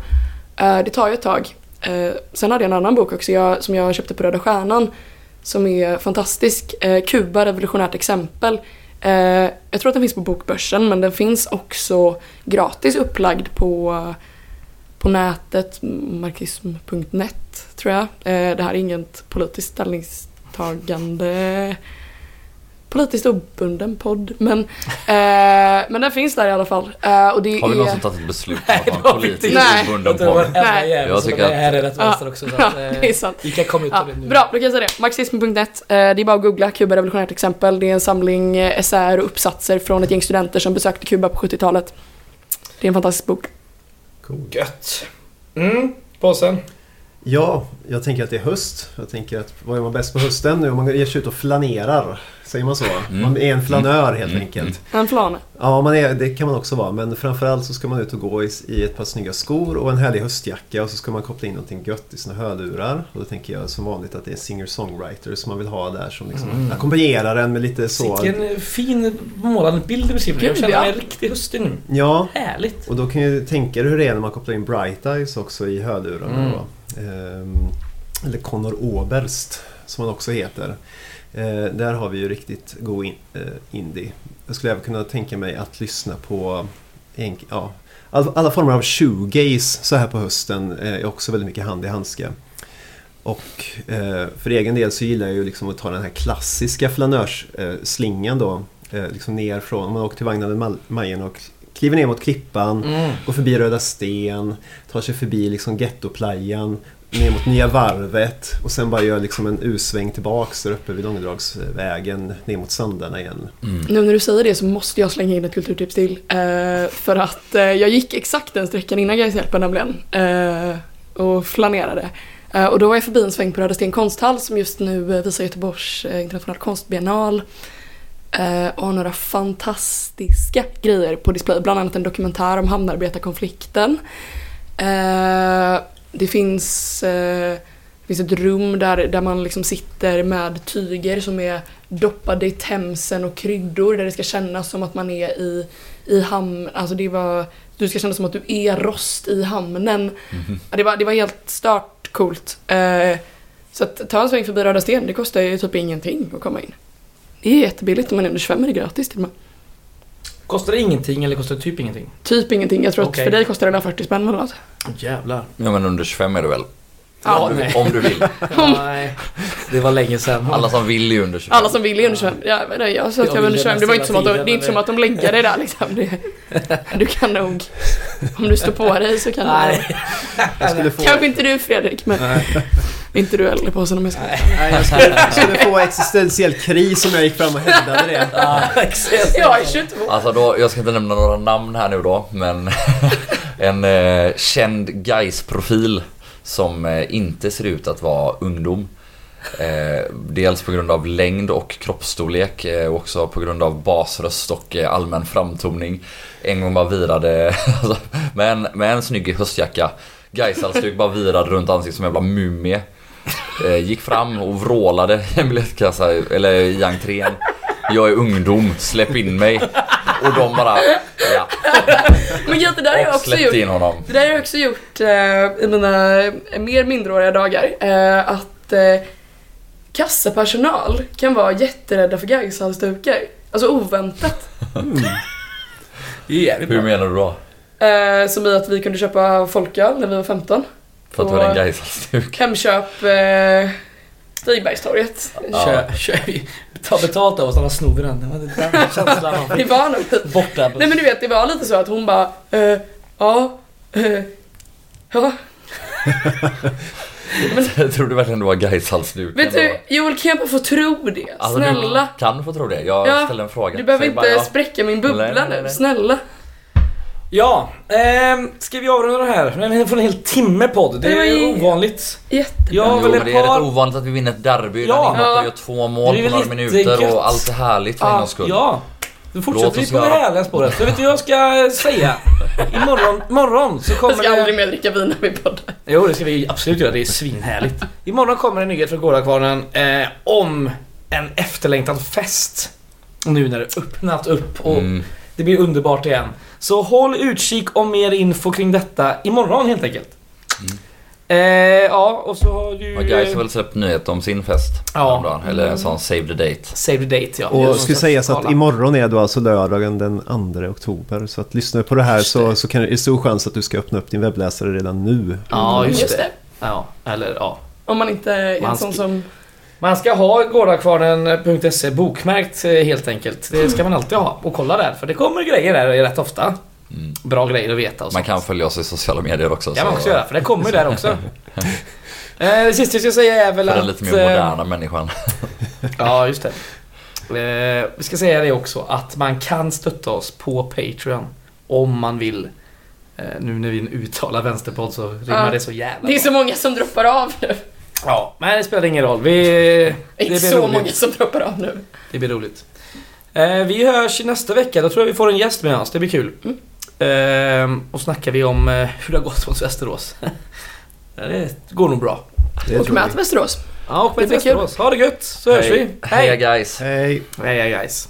Speaker 3: Eh, det tar ju ett tag. Eh, sen hade jag en annan bok också jag, som jag köpte på Röda Stjärnan som är fantastisk. Eh, Kuba, revolutionärt exempel. Eh, jag tror att den finns på Bokbörsen men den finns också gratis upplagd på, på nätet, marxism.net tror jag. Eh, det här är inget politiskt ställningstagande politiskt obunden podd. Men, eh, men den finns där i alla fall. Eh, och det
Speaker 2: Har vi
Speaker 3: är...
Speaker 2: någonsin tagit ett beslut om att
Speaker 1: det
Speaker 2: ha
Speaker 1: har
Speaker 2: en
Speaker 1: vi
Speaker 2: politisk
Speaker 3: inte.
Speaker 2: obunden
Speaker 1: Det var
Speaker 2: podd?
Speaker 1: en jävla
Speaker 3: Nej.
Speaker 1: jävel
Speaker 2: Jag
Speaker 1: som
Speaker 2: tycker
Speaker 1: var
Speaker 2: att-
Speaker 1: här är rätt
Speaker 3: Ja,
Speaker 1: vänster också. Så
Speaker 3: ja,
Speaker 1: att, eh,
Speaker 3: det är sant.
Speaker 1: Ica kom ut
Speaker 3: Ja,
Speaker 1: ur det nu.
Speaker 3: bra, då kan jag säga det. Marxism.net. Eh, Det är bara att googla Kuba revolutionärt exempel. Det är en samling eh, essäer och uppsatser från ett gäng studenter som besökte Kuba på 70-talet. Det är en fantastisk bok.
Speaker 4: Cool.
Speaker 1: Gött. Mm, påsen.
Speaker 4: Ja, jag tänker att det är höst. Jag tänker att vad gör man bäst på hösten nu? Om man ger sig ut och flanerar. Säger man så?
Speaker 2: Mm.
Speaker 4: Man är en flanör helt
Speaker 2: Mm,
Speaker 4: enkelt.
Speaker 3: En flane.
Speaker 4: Ja, man är, det kan man också vara. Men framförallt så ska man ut och gå i, i ett par snygga skor och en härlig höstjacka. Och så ska man koppla in någonting gött i sina hörlurar. Och då tänker jag som vanligt att det är singer-songwriter som man vill ha där som liksom
Speaker 1: Mm.
Speaker 4: ackompanjerar en med lite så...
Speaker 1: Vilken fin målad bild du beskriver. Jag
Speaker 3: Gud,
Speaker 1: känner
Speaker 3: ja.
Speaker 1: mig riktigt hustig nu.
Speaker 4: Ja,
Speaker 1: Härligt.
Speaker 4: Och då kan jag ju tänka dig hur det är när man kopplar in Bright Eyes också i hörlurarna.
Speaker 1: Mm.
Speaker 4: Då. Ehm, eller Connor Oberst som han också heter. Eh, där har vi ju riktigt god in, eh, indie. Jag skulle även kunna tänka mig att lyssna på enk- ja, all, alla former av shoegaze så här på hösten eh, är också väldigt mycket hand i handske. Och eh, för egen del så gillar jag ju liksom att ta den här klassiska flanörsslingan eh, slingan då. Eh, liksom ner från, om man åker till Vagnade Mal- Majen och kliver ner mot Klippan,
Speaker 1: Mm.
Speaker 4: Går förbi Röda Sten, tar sig förbi liksom gettoplayan, ner mot Nya Varvet och sen bara gör liksom en U-sväng tillbaks där uppe vid Långdragsvägen ner mot Sandarna igen.
Speaker 2: Mm.
Speaker 3: Nu när du säger det så måste jag slänga in ett kulturtips till. Eh, för att eh, jag gick exakt den sträckan innan Gaishjälpen nämligen. Eh, och flanerade. Eh, och då var jag förbi en sväng på Röda Sten konsthall som just nu eh, visar Göteborgs eh, internationella konstbiennal. Eh, och har några fantastiska grejer på display. Bland annat en dokumentär om hamnarbetarkonflikten. Eh, det finns, eh, det finns ett rum där, där man liksom sitter med tyger som är doppade i temsen och kryddor där det ska kännas som att man är i, i hamn. Alltså det var, du ska känna som att du är rost i hamnen.
Speaker 2: Mhm.
Speaker 3: Ja, Det var, det var helt stört coolt. Eh, så att ta en sväng förbi Röda Sten, det kostar ju typ ingenting att komma in. Det är jättebilligt om man är under 25 är det gratis till och med.
Speaker 1: Kostar det ingenting eller kostar det typ ingenting?
Speaker 3: Typ ingenting, jag tror
Speaker 1: Okej.
Speaker 3: att för dig kostar det där 40 spänn eller något.
Speaker 1: Jävlar.
Speaker 2: Ja men under 25 är du väl?
Speaker 3: Ja,
Speaker 2: om,
Speaker 1: nej.
Speaker 2: du, om du vill.
Speaker 1: Nej, det var länge sedan.
Speaker 2: Alla som vill är ju under 25.
Speaker 3: Alla som vill är under 25. Ja, jag vet inte, jag sa att
Speaker 1: Jag
Speaker 3: jag var under
Speaker 1: ville
Speaker 3: 25. Det var inte
Speaker 1: mest
Speaker 3: som att
Speaker 1: hela
Speaker 3: de, det är
Speaker 1: tiden,
Speaker 3: inte som att de länkar dig där liksom. Det, du kan nog, om du står på dig så kan du.
Speaker 1: Nej.
Speaker 4: Jag skulle få,
Speaker 3: Kanske inte du Fredrik, men inte du heller på sig om jag ska.
Speaker 4: nej, jag skulle, jag skulle få existentiell kris om jag gick fram och hävdade det.
Speaker 1: Ja, exakt.
Speaker 3: Jag är 22.
Speaker 2: Alltså då, jag ska inte nämna några namn här nu då men en eh, känd guys profil som eh, inte ser ut att vara ungdom. Eh, dels på grund av längd och kroppsstorlek eh, och också på grund av basröst och eh, allmän framtoning. En gång bara virade alltså, med, en, med en snygg höstjacka. Gaishalsduk bara virad runt ansiktet som en jävla mumie. Eh, gick fram och vrålade i en biljettkassa, eller i entrén. Jag är ungdom, släpp in mig. Och de bara, ja.
Speaker 3: Men gud, det där har jag
Speaker 2: Och
Speaker 3: också
Speaker 2: släppte
Speaker 3: gjort.
Speaker 2: in honom.
Speaker 3: Det där har jag också gjort eh, i mina eh, mer mindreåriga dagar. Eh, att eh, kassapersonal kan vara jätterädda för gaggsalsdukar. Alltså oväntat.
Speaker 1: Jävligt
Speaker 2: Hur
Speaker 1: bra.
Speaker 2: menar du då?
Speaker 3: Eh, som i att vi kunde köpa folköl när vi var 15.
Speaker 2: För att du hade en Gaishalsduk?
Speaker 3: Hemköp eh, Stigbergstorget.
Speaker 1: Kör, kör vi. Ta betalt av oss, annars snor vi den. Det var den känslan man
Speaker 3: Det
Speaker 1: fick.
Speaker 3: var nog lite-
Speaker 1: Borta.
Speaker 3: Nej men du vet, det var lite så att hon bara eh, ja, eh, ja.
Speaker 2: Tror du verkligen det var Gaishalsduken?
Speaker 3: Vet du, typ, Joel kan jag bara få tro det?
Speaker 2: Alltså,
Speaker 3: Snälla.
Speaker 2: Du kan få tro det. Jag
Speaker 3: Ja,
Speaker 2: ställde en fråga.
Speaker 3: Du behöver
Speaker 2: Säg
Speaker 3: inte
Speaker 2: bara ja.
Speaker 3: spräcka min bubbla
Speaker 2: Nej, nej, nej,
Speaker 3: nu,
Speaker 2: nej.
Speaker 3: snälla.
Speaker 1: Ja, ehm, ska vi avrunda det här? Men Vi får en hel timme podd. Det
Speaker 3: Det var
Speaker 1: är
Speaker 3: ju-
Speaker 1: ovanligt.
Speaker 3: Jätte...
Speaker 1: Jag har
Speaker 2: Jo,
Speaker 1: väl
Speaker 2: men
Speaker 1: ett
Speaker 2: det är rätt
Speaker 1: par...
Speaker 2: ovanligt att vi vinner ett derby.
Speaker 1: Ja.
Speaker 2: Ja. Där
Speaker 3: Ja.
Speaker 2: ja. gör två mål
Speaker 1: Det är
Speaker 2: på
Speaker 1: väl
Speaker 2: några
Speaker 1: lite
Speaker 2: minuter
Speaker 1: gött.
Speaker 2: och allt är härligt för
Speaker 1: Ja,
Speaker 2: en gångs skull.
Speaker 1: Ja. Nu
Speaker 2: Låt
Speaker 1: fortsätter vi
Speaker 2: oss
Speaker 1: på det
Speaker 2: göra.
Speaker 1: härliga spåret. Jag vet inte hur jag ska säga. Imorgon, imorgon så
Speaker 3: Jag
Speaker 1: kommer
Speaker 3: ska aldrig
Speaker 1: det...
Speaker 3: mer dricka vin när vi poddar.
Speaker 1: Jo, det ska vi absolut göra. Det är svinhärligt. Imorgon kommer en nyhet från Gårdakvarnen eh, om en efterlängtad fest. Nu när det öppnat upp och
Speaker 2: Mm.
Speaker 1: det blir underbart igen. Så håll utkik om mer info kring detta imorgon helt enkelt. Eh, ja, och så har du...
Speaker 2: Mm. Ja, Gais har väl släppt nyhet om sin fest
Speaker 1: Ja. Mm.
Speaker 2: häromdagen, eller en sån save the date.
Speaker 1: Save the date ja.
Speaker 4: Och
Speaker 1: Just
Speaker 4: det
Speaker 1: det,
Speaker 4: skulle
Speaker 1: så
Speaker 4: sägas att
Speaker 1: kolla.
Speaker 4: imorgon är då alltså lördagen den 2 oktober. Så att lyssnar du på det här
Speaker 1: Just
Speaker 4: så,
Speaker 1: det.
Speaker 4: så kan det är stor chans att du ska öppna upp din webbläsare redan nu.
Speaker 1: Ja, just, det. Ja, eller ja.
Speaker 3: Om man inte är
Speaker 1: Man
Speaker 3: en sån
Speaker 1: sk-
Speaker 3: som...
Speaker 1: Man ska ha gårdakvarnen.se bokmärkt eh, helt enkelt. Det ska man alltid ha och kolla där för det kommer grejer där rätt ofta.
Speaker 2: Mm.
Speaker 1: Bra grejer att veta och
Speaker 2: Man
Speaker 1: sånt.
Speaker 2: kan följa oss i sociala medier också.
Speaker 1: Det kan man
Speaker 2: så-
Speaker 1: också göra för det kommer ju där också. Eh, Det sista jag ska säga är väl
Speaker 2: För
Speaker 1: att...
Speaker 2: den lite mer
Speaker 1: eh,
Speaker 2: moderna människan.
Speaker 1: Ja, just det. Eh, vi ska säga det också att man kan stötta oss på Patreon om man vill. Eh, nu när vi uttalar vänsterpodd så rimmar
Speaker 3: Ja.
Speaker 1: det så jävla
Speaker 3: Det är
Speaker 1: bra.
Speaker 3: så många som droppar av nu.
Speaker 1: Ja, men det spelar ingen roll. Vi,
Speaker 3: Det är
Speaker 1: det,
Speaker 3: inte
Speaker 1: blir
Speaker 3: så många
Speaker 1: roligt.
Speaker 3: som droppar av nu.
Speaker 1: det blir roligt. Eh, vi hörs nästa vecka. Då tror jag vi får en gäst med oss. Det blir kul. Eh, och snackar vi om eh, hur det har gått mot Västerås. det går nog bra.
Speaker 4: Det
Speaker 3: Och
Speaker 4: tror
Speaker 3: med
Speaker 4: vi.
Speaker 3: till Västerås.
Speaker 1: Ja, och med
Speaker 3: Det blir
Speaker 1: Västerås. Ha det gött så hörs vi.
Speaker 2: Heja guys!
Speaker 4: Hej!
Speaker 1: Hej, hej guys.